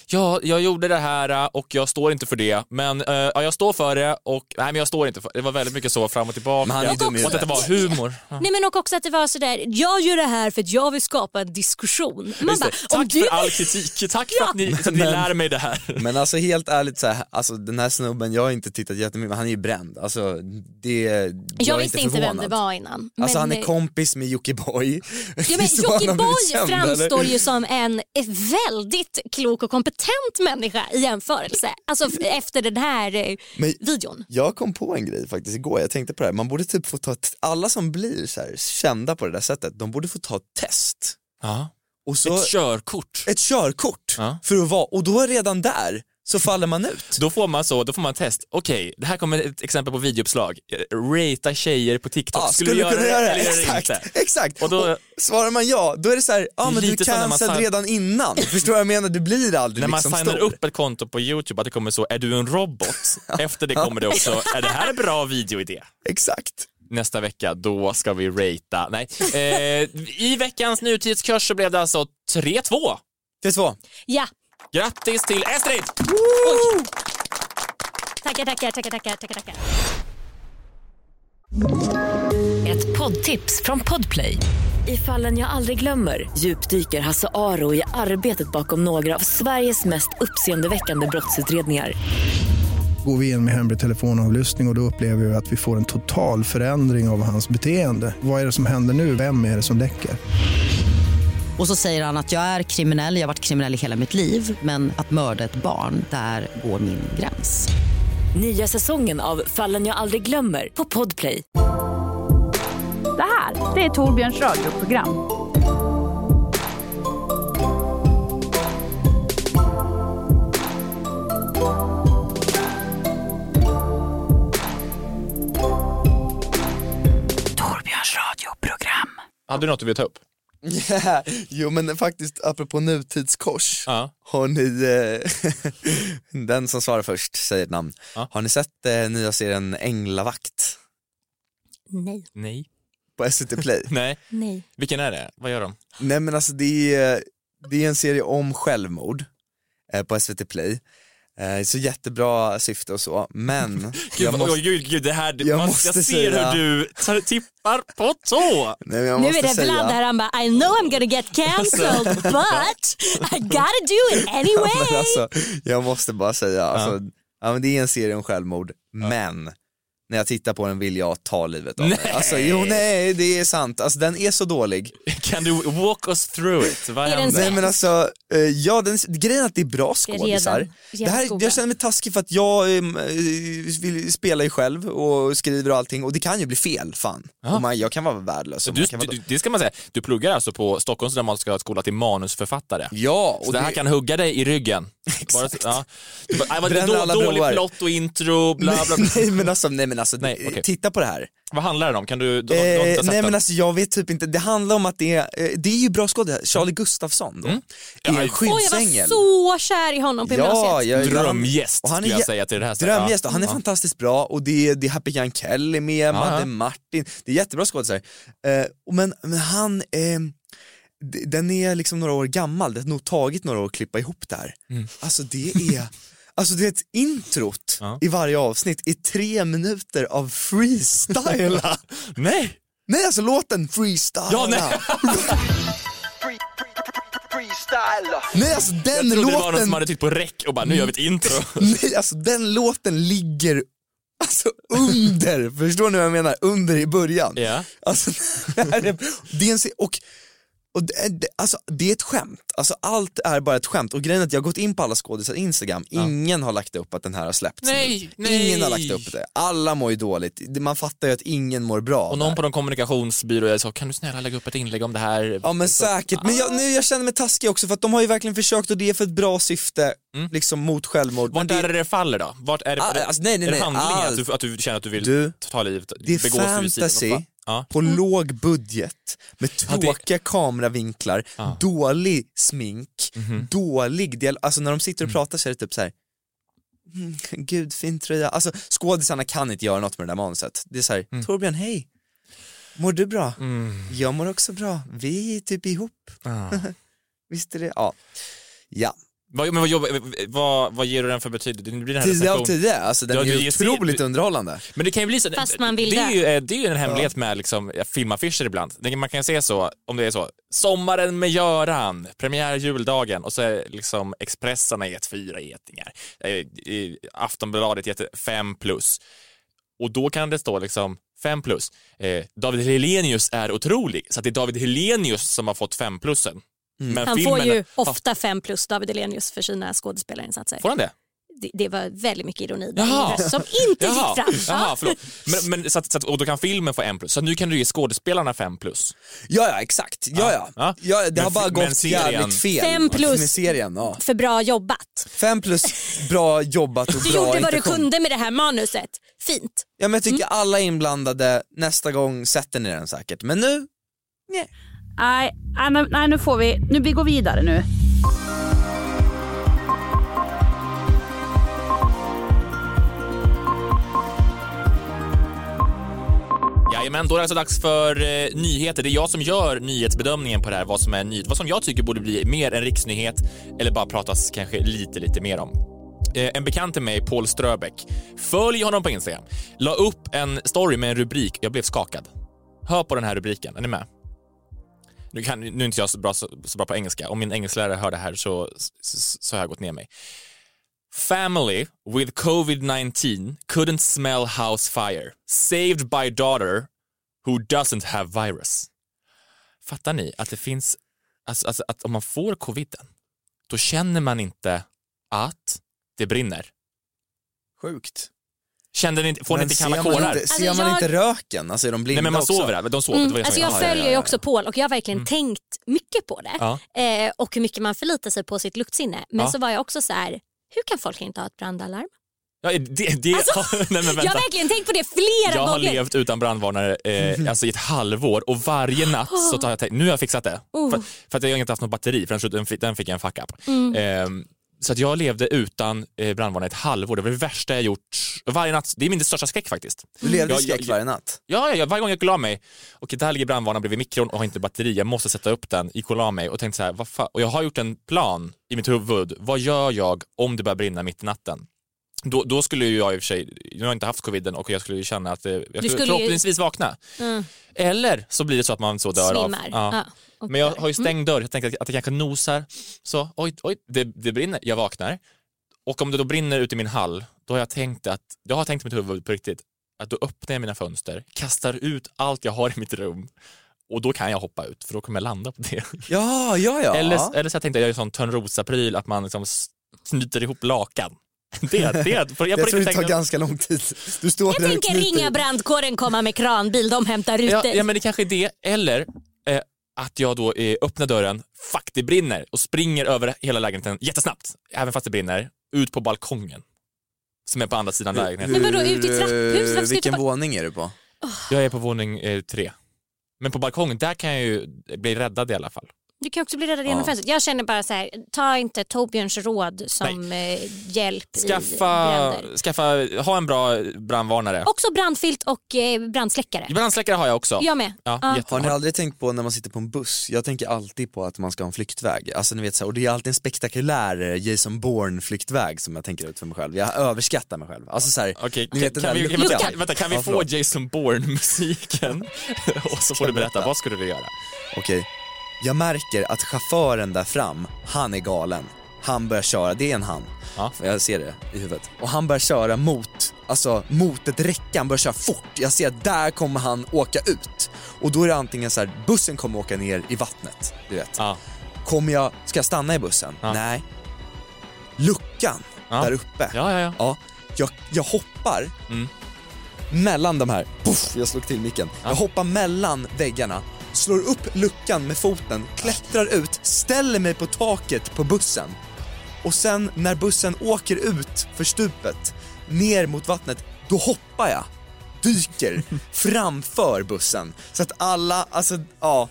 ja, jag gjorde det här eh, och jag står inte för det, men eh, ja, jag står för det och nej, men jag står inte för det. Det var väldigt mycket så fram och tillbaka. Men han är ju dum i och att det var huvudet. humor. Ja. Nej men och också att det var sådär, jag gör det här för att jag vill skapa en diskussion. Man Just bara, det. om Tack du för all kritik, tack för att ni, att ni Men- lär mig det här. Men alltså helt ärligt så här, alltså den här snubben, jag har inte tittat jättemycket men han är ju bränd. Alltså det, jag, Jag är visste inte inte vem förvånad. det var innan. Alltså han är eh, kompis med Jockiboi. Ja, men Jockiboi framstår ju som en väldigt klok och kompetent människa i jämförelse. Alltså f- efter den här eh, Men- videon. Jag kom på en grej faktiskt igår, jag tänkte på det här, man borde typ få ta, ett- alla som blir så här kända på det där sättet, de borde få ta ett test. Ja. Och så Ett körkort. ett körkort Ja. för att vara, och då redan där så faller man ut. Då får man så, då får man test. Okej, det här kommer ett exempel på videouppslag. Eh, Rata tjejer på TikTok. Ja, skulle, du kunna göra det? Exakt, inte? exakt. Och Och då- svarar man ja, då är det så här, ja Det är men du lite som när man cancelled sign- redan innan. Förstår vad jag menar? Du blir aldrig När man liksom signar stor. upp ett konto på YouTube att det kommer så, är du en robot? Efter det kommer det också, är det här en bra videoidé? Exakt. Nästa vecka, då ska vi ratea. Nej. Eh, I veckans nutidskurs så blev det alltså 3-2. Det är två. Ja, Grattis till Estrid! tackar, tackar, tackar, tackar, tackar, tackar. Ett poddtips från Podplay. I fallen jag aldrig glömmer djupdyker Hasse Aro i arbetet bakom några av Sveriges mest uppseendeväckande brottsutredningar. Går vi in med hemlig telefonavlyssning och, och då upplever vi att vi får en total förändring av hans beteende. Vad är det som händer nu? Vem är det som läcker? Och så säger han att jag är kriminell, jag har varit kriminell i hela mitt liv men att mörda ett barn, där går min gräns. Nya säsongen av Fallen jag aldrig glömmer på Podplay. Det här, det är Torbjörns radioprogram. Torbjörns radioprogram. Hade du något du ville ta upp? Jo men faktiskt, apropå nutidskors, Ja. har ni, eh, den som svarar först säger ett namn. Ja. Har ni sett eh, nya serien Änglavakt? Nej. Nej. på SVT Play. Nej. Nej. Vilken är det? Vad gör de? Nej men alltså det är, det är en serie om självmord eh, på SVT Play. Eh, så jättebra syfte och så, men Gud, jag måste, gud, gud, det här, jag jag, man, måste jag ser säga- hur du tar, tippar på tå. Nej, men jag Nu är måste det säga, Alltså- Vlad där han bara I know I'm gonna get cancelled but I gotta do it anyway. Men alltså, jag måste bara säga, alltså, ja, men det är en serie om självmord, men när jag tittar på den vill jag ta livet av mig. Nej. Alltså, jo nej, det är sant. Alltså den är så dålig. Kan du walk us through it? Vad Är den händer? Nej men alltså, eh, ja den, grejen är att det är bra Det är skådisar. redan Det här, jättegoda. jag känner mig taskig för att jag em, eh, vill spela ju själv och skriver och allting och det kan ju bli fel fan. Och man, jag kan vara värdelös. och Du, man kan vara... du, det ska man säga, du pluggar alltså på Stockholms dramatiska skola till manusförfattare. Ja, Så det här kan hugga dig i ryggen. Exakt. Bara, ja. du bara, "Aj, vad- det är Bränner då, alla dålig broar." plott och intro, bla bla. bla. nej men alltså, nej, men alltså Nej, okej. titta på det här. Vad handlar det om? Kan du, du, du har inte Eh, sett nej den? men alltså jag vet typ inte, det handlar om att det är, eh, det är ju bra skådespelare, Charlie Gustafsson Mm. då, är en Oj, jag var skyddsängel. så kär i honom på Ja, gymnasiet. jag, Drömgäst och han är skulle jag jä- säga till det här stället. Drömgäst, och han är Ja. fantastiskt bra och det är, det är Happy Jan Kelly med, Madde ja. Martin, det är jättebra skådisar. Eh, och men, men han, eh, d- den är liksom några år gammal, det har nog tagit några år att klippa ihop det här. Alltså det är, alltså det är ett introt Ja. i varje avsnitt i tre minuter av freestyle. Nej! nej alltså låten freestyle. Ja, nej. nej alltså den jag trodde det var någon låten som hade tryckt på räck och bara, nu gör vi ett intro. Nej, alltså den låten ligger alltså under, förstår ni vad jag menar? Under i början. Ja. Alltså, det, här är, det är en se- och, och det, det- alltså, det är ett skämt, alltså allt är bara ett skämt och grejen är att jag har gått in på alla skådisar Instagram, ingen har lagt upp att den här har släppts Nej, nu. nej. Ingen har lagt upp det, alla mår ju dåligt, Det- man fattar ju att ingen mår bra. Och någon på någon kommunikationsbyrå sa, kan du snälla lägga upp ett inlägg om det här? Ja men säkert, men jag, nu, jag känner mig taskig också för att de har ju verkligen försökt och det är för ett bra syfte, liksom mot självmord. Men Mm. Vart det, är det det faller då? Vart är det, Ah, alltså, nej, nej, är det nej, handlingen? allt. Att, du, att du känner att du vill Du, ta livet? Det begå är suicid? fantasy Vad fan? Ja. på låg budget Mm. med Ja, det- tråkiga kameravinklar, Ja. Mhm. dålig smink, dålig del, alltså när de sitter och pratar så är det typ så här. "Mm, Gud, fin tröja. Alltså skådisarna kan inte göra något med det där manuset. Det är så här, Mm. Torbjörn, hej, mår du bra? Jag mår också bra, vi är typ ihop. Ja. Visst är det? Ja. Ja, Vad, men vad, jobb- vad, vad ger du den för betydelse? Det blir en 10 av recension. 10, alltså den Ja, är du- ju jag ser- otroligt du- underhållande. Men det kan ju bli så. Fast man vill det, är dö. ju, eh, det är ju en hemlighet med liksom, eh, filmaffischer ibland. Det- Man kan ju se så, om det är så, Sommaren med Göran, premiär juldagen och så är liksom Expressarna gett fyra getingar. Eh, i- Aftonbladet gett fem plus. Och då kan det stå liksom fem plus. Eh, David Helenius är otrolig, så att det är David Helenius som har fått fem plussen. Men Han får ju ofta fem plus David Elenius för sina skådespelarinsatser. Får han det? Det, det var väldigt mycket ironi där Jaha. i det här som inte gick fram. Jaha, förlåt. Men, men, så att, så att, och då kan filmen få en plus. Så nu kan du ge skådespelarna fem plus. Ja, ja, exakt. Ja, ja. Ja. ja. det Men har bara fi- men gått serien- jävligt fel. Fem plus- Med serien, ja. För bra jobbat. Fem plus bra jobbat och Du bra gjorde vad du intention. kunde Mm. med det här manuset. Fint. Ja, men jag tycker alla inblandade nästa gång sätter ni den säkert. Men nu, Nej, nej, nej, nej, nu får vi, nu vi går vidare nu. Jajamän, då är det alltså dags för eh, nyheter. Det är jag som gör nyhetsbedömningen på det här, vad som är en nyhet, vad som jag tycker borde bli mer en riksnyhet eller bara pratas kanske lite, lite mer om. Eh, En bekant till mig, Paul Ströbeck, följ honom på Instagram, la upp en story med en rubrik. Jag blev skakad. Hör på den här rubriken, är ni med? Nu, kan, nu är inte jag så bra, så, så bra på engelska. Om min engelsklärare hör det här så, så, så har jag gått ner mig. Family with covid-19 couldn't smell house fire. Saved by daughter who doesn't have virus. Fattar ni att det finns, alltså, alltså att om man får coviden, då känner man inte att det brinner. sjukt. Kände ni, inte- får ni Men inte kalla ser man kårar? Inte, ser Alltså, man jag- inte röken? Alltså är de blinda Nej men man också? sover där, de sover. det var Mm, det som alltså jag jag sa. ja, följer ja, ju ja. också Paul och jag har verkligen tänkt mycket på det Mm. Ja. eh, och hur mycket man förlitar sig på sitt luktsinne. Men Ja. så var jag också så här, hur kan folk inte ha ett brandalarm? Ja, det, det, nej, men Alltså, jag vänta. har verkligen tänkt på det flera Jag har gånger. levt utan brandvarnare eh, alltså i ett halvår och varje natt så tar jag tänkt, nu har jag fixat det. Oh. För, för att jag har inte haft något batteri för den, den, fick, den fick jag en fuck up. Mm. Ehm, Så att jag levde utan eh, brandvarnare ett halvår. Det var det värsta jag gjort varje natt. Det är min största skräck faktiskt. Du levde i Jag- jag- skräck varje natt. Ja, ja, ja, varje gång jag gick och la mig. Okej, där ligger brandvarnaren bredvid mikron och har inte batteri. Jag måste sätta upp den. Gick och la mig och tänkte så här, vad fan? Och jag har gjort en plan i mitt huvud. Vad gör jag om det börjar brinna mitt i natten? Då, då skulle ju jag i och för sig, nu har jag inte haft coviden och jag skulle ju känna att eh, jag skulle, skulle ju- förhoppningsvis vakna. Mm. Eller så blir det så att man så dör Svimmar. av. alltså. Ja. Ja, och Men jag dör. har ju Mm. stängd dörr, jag tänker att- att det kanske nosar. Så, oj, oj, det, det brinner, jag vaknar. Och om det då brinner ute i min hall, då har jag tänkt att, jag har tänkt i mitt huvud på riktigt, att då öppnar jag mina fönster, kastar ut allt jag har i mitt rum och då kan jag hoppa ut för då kommer jag landa på det. Ja, ja, ja. Eller, eller så jag tänkte jag gör en sån Törnrosa-pryl, att man liksom snyter ihop lakan. Det, det, jag på riktigt jag tror det tar tänkte- ganska lång tid. Du står Jag där och tänker knyter. ringa brandkåren, komma med kranbil, de hämtar ut Ja, dig. ja men det kanske är det, eller eh, att jag då eh, öppnar dörren, fuck det brinner och springer över hela lägenheten jättesnabbt, även fast det brinner, ut på balkongen. Som är på andra sidan Men lägenheten. vadå, ut i trapphuset? Varför ska Vilken du bara... våning är du på? Jag är på våning eh, tre. Men på balkongen, där kan jag ju bli räddad i alla fall. Du kan också bli räddad genom Ja. fönstret. Jag känner bara så här, ta inte Torbjörns råd som eh, hjälp i Skaffa, bränder. skaffa, ha en bra brandvarnare. Också brandfilt och eh, brandsläckare. Brandsläckare har jag också. Jag med. Ja, Ja. jätte- Har ni aldrig tänkt på när man sitter på en buss, jag tänker alltid på att man ska ha en flyktväg, alltså ni vet så här, och det är alltid en spektakulär eh, Jason Bourne flyktväg som jag tänker ut för mig själv, jag överskattar mig själv. Alltså så här, Okej, ni kan, vet den kan, där vi- lukten. vänta, kan- vänta, kan vi Ja, få förlåt. Jason Bourne-musiken? och så får du berätta, vad skulle du göra? Okej, jag märker att chauffören där fram, han är galen. Han börjar köra, det är en han. Jag ser det i huvudet. Och han börjar köra mot, alltså mot ett räcke, han börjar köra fort. Jag ser att där kommer han åka ut. Och då är det antingen så här, bussen kommer åka ner i vattnet, du vet. Kommer jag, ska jag stanna i bussen? Nej. Luckan där uppe. Ja, ja, ja. jag, jag hoppar mellan de här, puff, jag slog till micken. Jag hoppar mellan väggarna, slår upp luckan med foten, klättrar ut, ställer mig på taket på bussen. Och sen när bussen åker ut för stupet, ner mot vattnet, då hoppar jag, dyker framför bussen. Så att alla, alltså ja,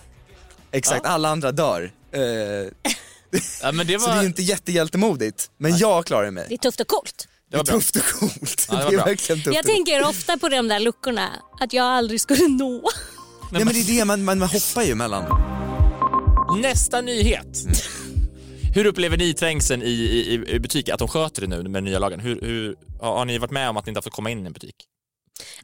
exakt, alla andra dör. Eh, Ja, men det Så det är var, ju inte jättehjältemodigt, men jag klarar mig. Det är tufft och coolt. Det, är tufft och coolt. Ja, det var det är bra. verkligen tufft Jag och coolt. tänker ofta på de där luckorna, att jag aldrig skulle nå. Nej men det är det, man, man, man hoppar ju mellan. Nästa nyhet. Mm. Hur upplever ni trängseln i, i, i- i butiker? Att de sköter det nu med den nya lagen? Hur, hur, har har ni varit med om att ni inte har fått komma in i en butik?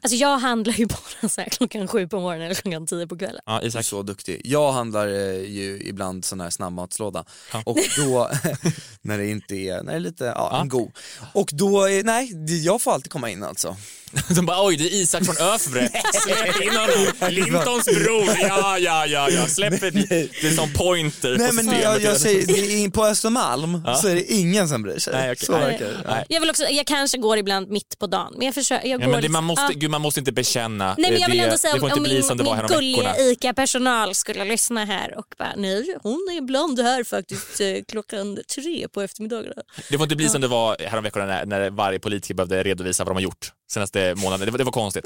Alltså jag handlar ju bara så här klockan sju på morgonen eller klockan tio på kvällen. Ja, Isak. Så duktig. Jag handlar eh, ju ibland sån här snabbmatslåda och då, när det inte är, när det är lite, ja, en god. Och då, är, nej, det- jag får alltid komma in alltså. De bara oj, det är Isak från Öfre. Släpp in honom. Lintons bror. Ja, ja, ja, ja. Släpp in. Det är som pointer Nej på men systemet. jag, jag säger, det är, på Östermalm så är det ingen som bryr sig. Nej, okej. Så verkar det. Nej. Jag, vill också, jag kanske går ibland mitt på dagen men jag försöker. Jag Ja, går men det, liksom- man, måste, ja. gud, man måste inte bekänna. Nej, men jag eh, vill det, ändå säga det får om, inte om bli min, som det var min härom gulliga veckorna. ICA-personal skulle lyssna här och bara nej, hon är ibland här faktiskt eh, klockan tre på eftermiddagarna. Det får inte bli som det var häromveckorna när, när varje politiker behövde redovisa vad de har gjort senaste månaden. Det var, det var konstigt.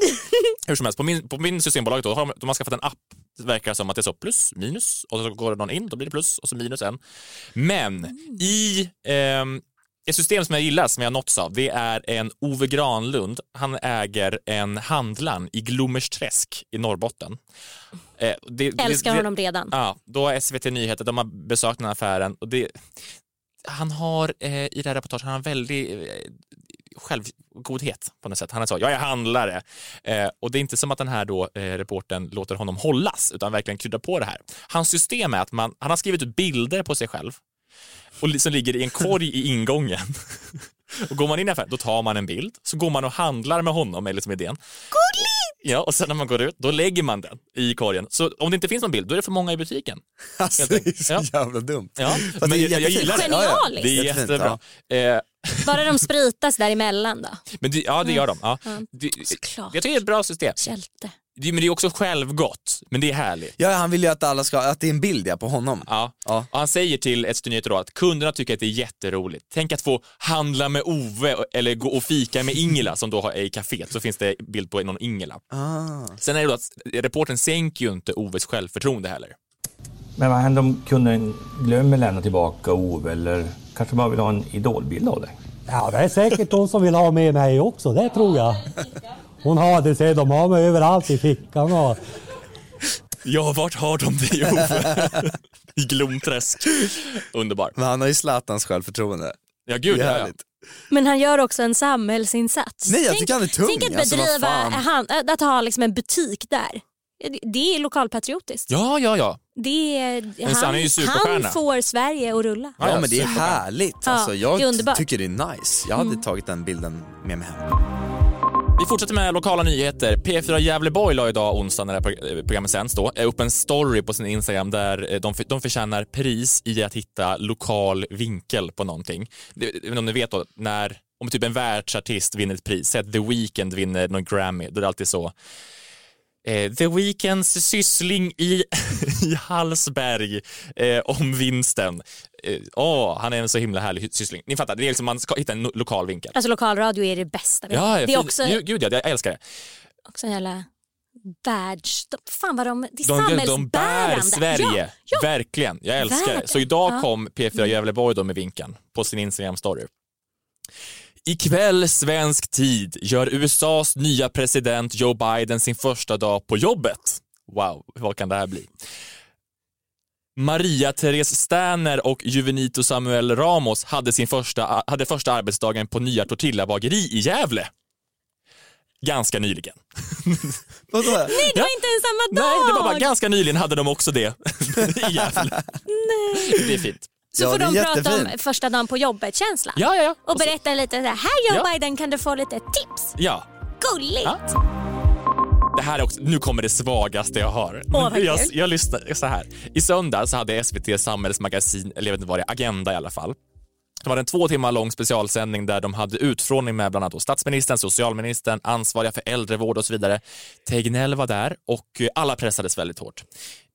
Hur som helst, på min, på min systembolag då, har de, de har skaffat en app. Det verkar som att det är så plus, minus och så går det någon in, då blir det plus och så minus en. Men i ehm, ett system som jag gillar, som jag har nåtts av, det är en Ove Granlund. Han äger en handlarn i Glommersträsk i Norrbotten. Eh, det- det- Älskar det- honom redan. Ja, då har SVT Nyheter, de har besökt den här affären och det, han har eh, i det här reportaget, han har en väldig eh, självgodhet på något sätt. Han är så, jag är handlare. Eh, och det är inte som att den här då eh, reportern låter honom hållas utan verkligen kryddar på det här. Hans system är att man, han har skrivit ut bilder på sig själv och li- som ligger i en korg i ingången. Och går man in i affären, då tar man en bild, så går man och handlar med honom, är liksom idén. Ja, och sen när man går ut, då lägger man den i korgen. Så om det inte finns någon bild, då är det för många i butiken. Alltså, det är så jävla dumt. Ja, Fast men det är jag, jag jättefint. gillar det. Genialiskt. Det är Jättefint, jättebra. Eh, Bara de spritas däremellan då. men det, ja, det gör de. Ja. Ja. Det, Såklart. jag tycker det är ett bra system. Hjälte. Det, men det är också självgott, men det är härligt. Ja, han vill ju att alla ska, att det är en bild ja, på honom. Ja. Ja. Och han säger till SVT Nyheter då att kunderna tycker att det är jätteroligt. Tänk att få handla med Ove och- eller gå och fika med Ingela som då har- är i kaféet. Så finns det bild på någon Ingela. Ah. Sen är det då att reporten sänker ju inte Oves självförtroende heller. Men vad händer om kunden glömmer lämna tillbaka Ove eller kanske man vill ha en idolbild av dig. Ja, det är säkert hon som vill ha med mig också, det tror jag. Hon har det, se, de har mig överallt i fickan och... Ja, vart har de dig Ove? I Glomträsk. Underbar. Men han har ju Zlatans självförtroende. Ja, gud ja. ja. Men han gör också en samhällsinsats. Nej, jag tycker han är tung, Tänk att alltså, vad bedriva, fan. han, att ha liksom en butik där. Det är lokalpatriotiskt. Ja, ja, ja. Det är, Visst, han är ju superstjärna. han får Sverige att rulla. Ja, men det är härligt. Ja, Alltså, jag det är underbart. Mm. tycker det är nice. Jag hade tagit den bilden med mig hem. Vi fortsätter med lokala nyheter. P4 Gävleborg la idag, onsdag när det här prog- eh, programmet sänds, då, eh, upp en story på sin Instagram där eh, de, för- de förtjänar pris i att hitta lokal vinkel på någonting. Det- Jag vet inte om ni vet då, när, om typ en världsartist vinner ett pris, säg att The Weeknd vinner någon Grammy, då är det alltid så Eh, The Weeknds syssling i, i Hallsberg eh, om vinsten. Eh, åh, han är en så himla härlig syssling. Ni fattar, det är liksom, man ska hitta en no- lokal vinkel. Alltså lokalradio är det bästa. vi har. Ja, det är också, Gud, gud ja, jag älskar det. också en jävla badge. De, fan vad de, det är De, de, de bär samhällsbärande. Sverige, Ja, ja. verkligen. Jag älskar det. Så Verkligen. idag Ja. Mm. kom P4 Gävleborg då med vinkeln på sin Instagram-story. Ikväll svensk tid gör USAs nya president Joe Biden sin första dag på jobbet. Wow, vad kan det här bli? Maria Therese Sterner och Juvenito Samuel Ramos hade, sin första, hade första arbetsdagen på nya tortillabageri i Gävle. Ganska nyligen. Vadå? Nej, det var inte ens samma dag. Nej, det var bara ganska nyligen hade de också det i Gävle. Det är fint. Så får de prata om första dagen på jobbet-känslan. Ja, ja, ja. Och berätta lite så här, här Joe Ja. Biden kan du få lite tips. Ja. Gulligt. Det här är också, nu kommer det svagaste jag har. Åh, vad jag, kul. jag lyssnar så här. I söndags så hade SVT Samhällsmagasin, eller jag vet inte vad det är, Agenda i alla fall. Det var en två timmar lång specialsändning där de hade utfrågning med bland annat då statsministern, socialministern, ansvariga för äldrevård och så vidare. Tegnell var där och eh, alla pressades väldigt hårt.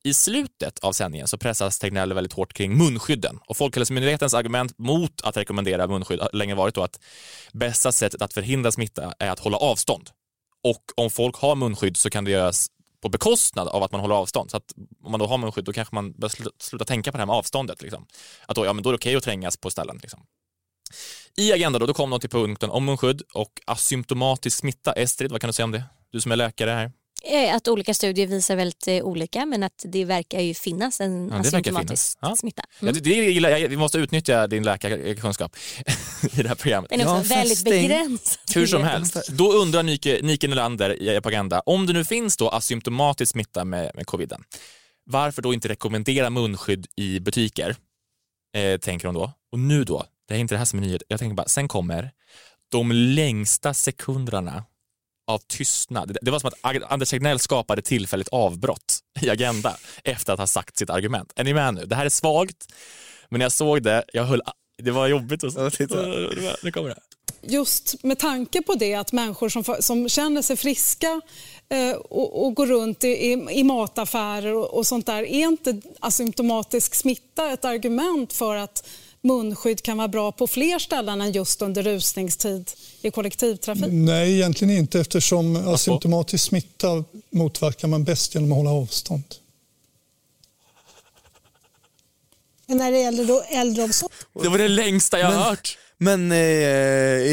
I slutet av sändningen så pressas Tegnell väldigt hårt kring munskydden och Folkhälsomyndighetens argument mot att rekommendera munskydd har länge varit då att bästa sättet att förhindra smitta är att hålla avstånd. Och om folk har munskydd så kan det göras på bekostnad av att man håller avstånd. Så att om man då har munskydd då kanske man börjar slu- sluta tänka på det här med avståndet. Liksom. Att då, ja, men då är det okej att trängas på ställen. Liksom. I Agenda då, då kom de till punkten om munskydd och asymptomatisk smitta. Estrid, vad kan du säga om det? Du som är läkare här. Eh, Att olika studier visar väldigt eh, olika men att det verkar ju finnas en Ja, det verkar asymptomatisk finnas. Ja. smitta. Ja, det, det gillar jag. Vi måste utnyttja din läkarkunskap i det här programmet. Den är också väldigt begränsad. Hur som helst, då undrar Nike, Nike Nylander i Propaganda, om det nu finns då asymptomatisk smitta med, med coviden, varför då inte rekommendera munskydd i butiker? Eh, tänker hon då. Och nu då, det är inte det här som är nyhet, jag tänker bara, sen kommer de längsta sekunderna av tystnad. Det- Det var som att Ag- Anders Tegnell skapade tillfälligt avbrott i Agenda efter att ha sagt sitt argument. Är ni med nu? Det här är svagt, men när jag såg det, jag höll, det var jobbigt. Och så. Nu kommer det. Just med tanke på det att människor som, för- som känner sig friska eh, och, och går runt i, i, i mataffärer och, och sånt där, är inte asymptomatisk smitta ett argument för att munskydd kan vara bra på fler ställen än just under rusningstid i kollektivtrafik? Nej, egentligen inte eftersom asymptomatisk smitta motverkar man bäst genom att hålla avstånd. Men när det gäller då äldreomsorg. Det var det längsta jag har hört. Men eh,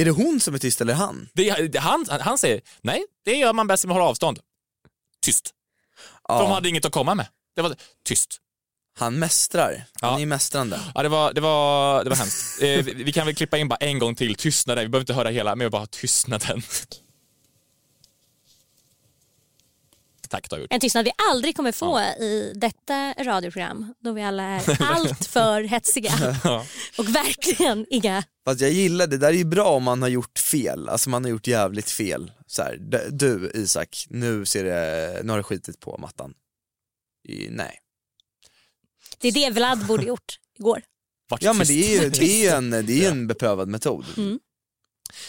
är det hon som är tyst eller han? Det, det- han, han säger, nej, det gör man bäst om man håller avstånd. Tyst. För de hade inget att komma med. Det var tyst. Han mästrar. Han är ju mästrande. Ja, det var, det var, det var hemskt. Eh, vi- vi kan väl klippa in bara en gång till, tystnaden. Vi behöver inte höra hela, men jag bara tystnaden. Tack, du har gjort. En tystnad vi aldrig kommer få i detta radioprogram då vi alla är allt för hetsiga Ja. och verkligen inga... Fast jag gillar det, där är ju bra om man har gjort fel, alltså man har gjort jävligt fel. Så här, d- du Isak, nu, ser det, nu har det skitit på mattan. I, nej. Det är det Vlad borde gjort igår. Ja men det är ju Tyst. det är ju en, det är ju en beprövad metod. Mm.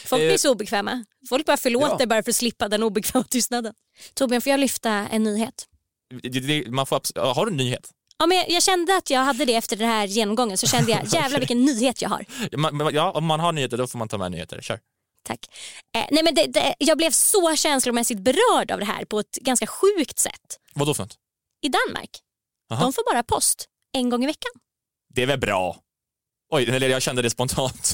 Folk Eh. blir så obekväma. Folk bara förlåter Ja. bara för att slippa den obekväma tystnaden. Torbjörn, får jag lyfta en nyhet? Det- det- det- Man får, abs- ja, har du en nyhet? Ja, men jag, jag kände att jag hade det efter den här genomgången så kände jag jävlar vilken nyhet jag har. Man, man- ja, om man har nyheter, då får man ta med nyheter. Kör. Eh, nej, men det, det, jag blev så känslomässigt berörd av det här på ett ganska sjukt sätt. Vad då för något? I Danmark, Aha. de får bara post en gång i veckan. Det är väl bra? Oj, eller jag kände det spontant.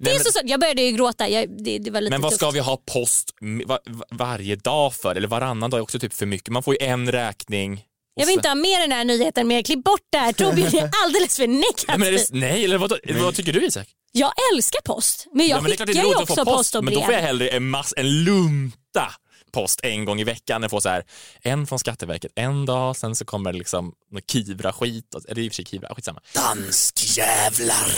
Det är så, så, jag började ju gråta, jag, det, det var lite Men vad tufft. ska vi ha post m- va- va- varje dag för? Eller varannan dag är också typ för mycket. Man får ju en räkning. Jag vill inte ha med den här nyheten mer, klipp bort det här. Torbjörn är alldeles för Nej, men är negativ. det, nej eller vad, vad tycker du Isak? Jag älskar post, men jag Ja, men det är klart skickar det är ju roligt att också få post post, och men då får jag brev. hellre en, mass, en lunta post en gång i veckan. Jag får så här, en från Skatteverket en dag, sen så kommer det liksom någon Kivra-skit. och- Eller i och för sig Kivra, skitsamma. Danskjävlar!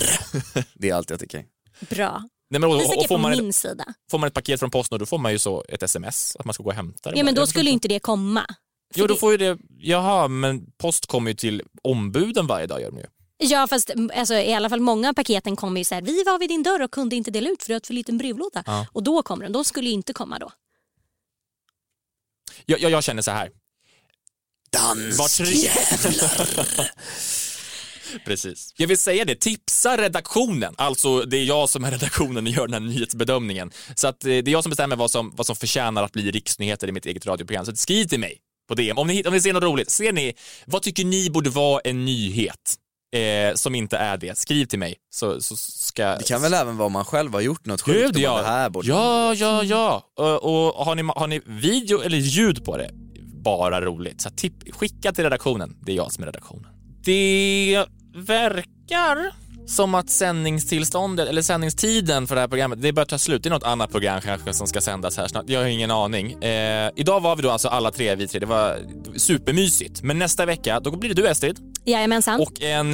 det är allt jag tycker. Bra. Nej, men, och, Visst är och, det får, från man min ett, sida. får man ett paket från Postnord då får man ju så ett sms att man ska gå och hämta det. Ja, men Jag då förstår skulle ju inte det komma. Jo, då får ju det... Jaha, men post kommer ju till ombuden varje dag. gör de ju. Ja, fast m, alltså, i alla fall många av paketen kommer ju så här, vi var vid din dörr och kunde inte dela ut för du har ett för liten brevlåda. Ja. Och då kommer den, de skulle ju inte komma då. Jag, jag, jag känner så här. Danskjävlar! Precis. Jag vill säga det, tipsa redaktionen. Alltså det är jag som är redaktionen och gör den här nyhetsbedömningen. Så att eh, det är jag som bestämmer vad som, vad som förtjänar att bli riksnyheter i mitt eget radioprogram. Så skriv till mig på DM om ni, om ni ser något roligt. Ser ni, vad tycker ni borde vara en nyhet eh, som inte är det? Skriv till mig så, så ska... Det kan väl även vara om man själv har gjort något sjukt. Gud och ja. bara, Det här borde... ja, ja, ja. Och, och har, ni, har ni video eller ljud på det? Bara roligt. Så tipp, skicka till redaktionen. Det är jag som är redaktionen. Det verkar som att sändningstillståndet eller sändningstiden för det här programmet, det börjar ta slut. Det är något annat program kanske som ska sändas här snart. Jag har ingen aning. Eh, idag var vi då alltså alla tre, vi tre. Det var supermysigt. Men nästa vecka, då blir det du Estrid. Jajamensan. Och en...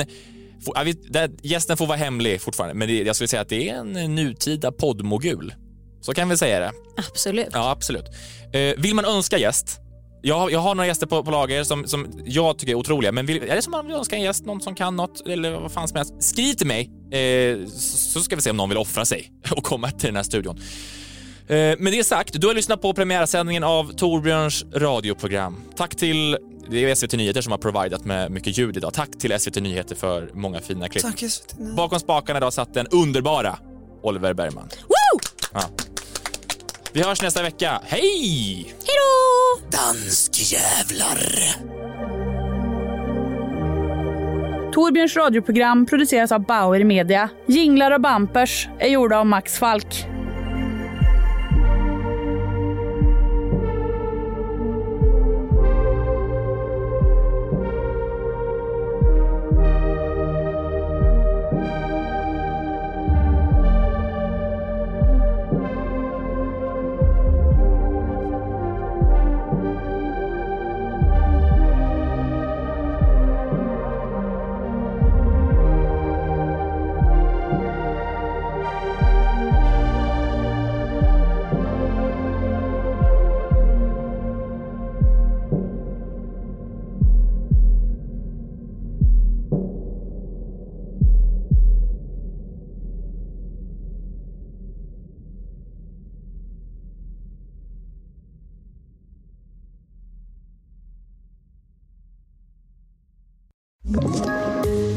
får- ja, vi- där- Gästen får vara hemlig fortfarande, men det, jag skulle säga att det är en nutida poddmogul. Så kan vi säga det. Absolut. Ja, absolut. Eh, vill man önska gäst? Jag, har- jag har några gäster på, på lager som, som jag tycker är otroliga, men vill, är det som man vill önska en gäst, någon som kan något eller vad fan som helst, skriv till mig eh, så, så ska vi se om någon vill offra sig och komma till den här studion. Eh, Med det sagt, du har lyssnat på premiärsändningen av Torbjörns radioprogram. Tack till det är SVT Nyheter som har providat med mycket ljud idag. Tack till SVT Nyheter för många fina klipp. Tack, SVT. Bakom spakarna idag satt den underbara Oliver Bergman. Woo! Ja. Vi hörs nästa vecka. Hej! Hej då! Danskjävlar! Torbjörns radioprogram produceras av Bauer Media. Jinglar och bampers är gjorda av Max Falk.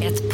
Ett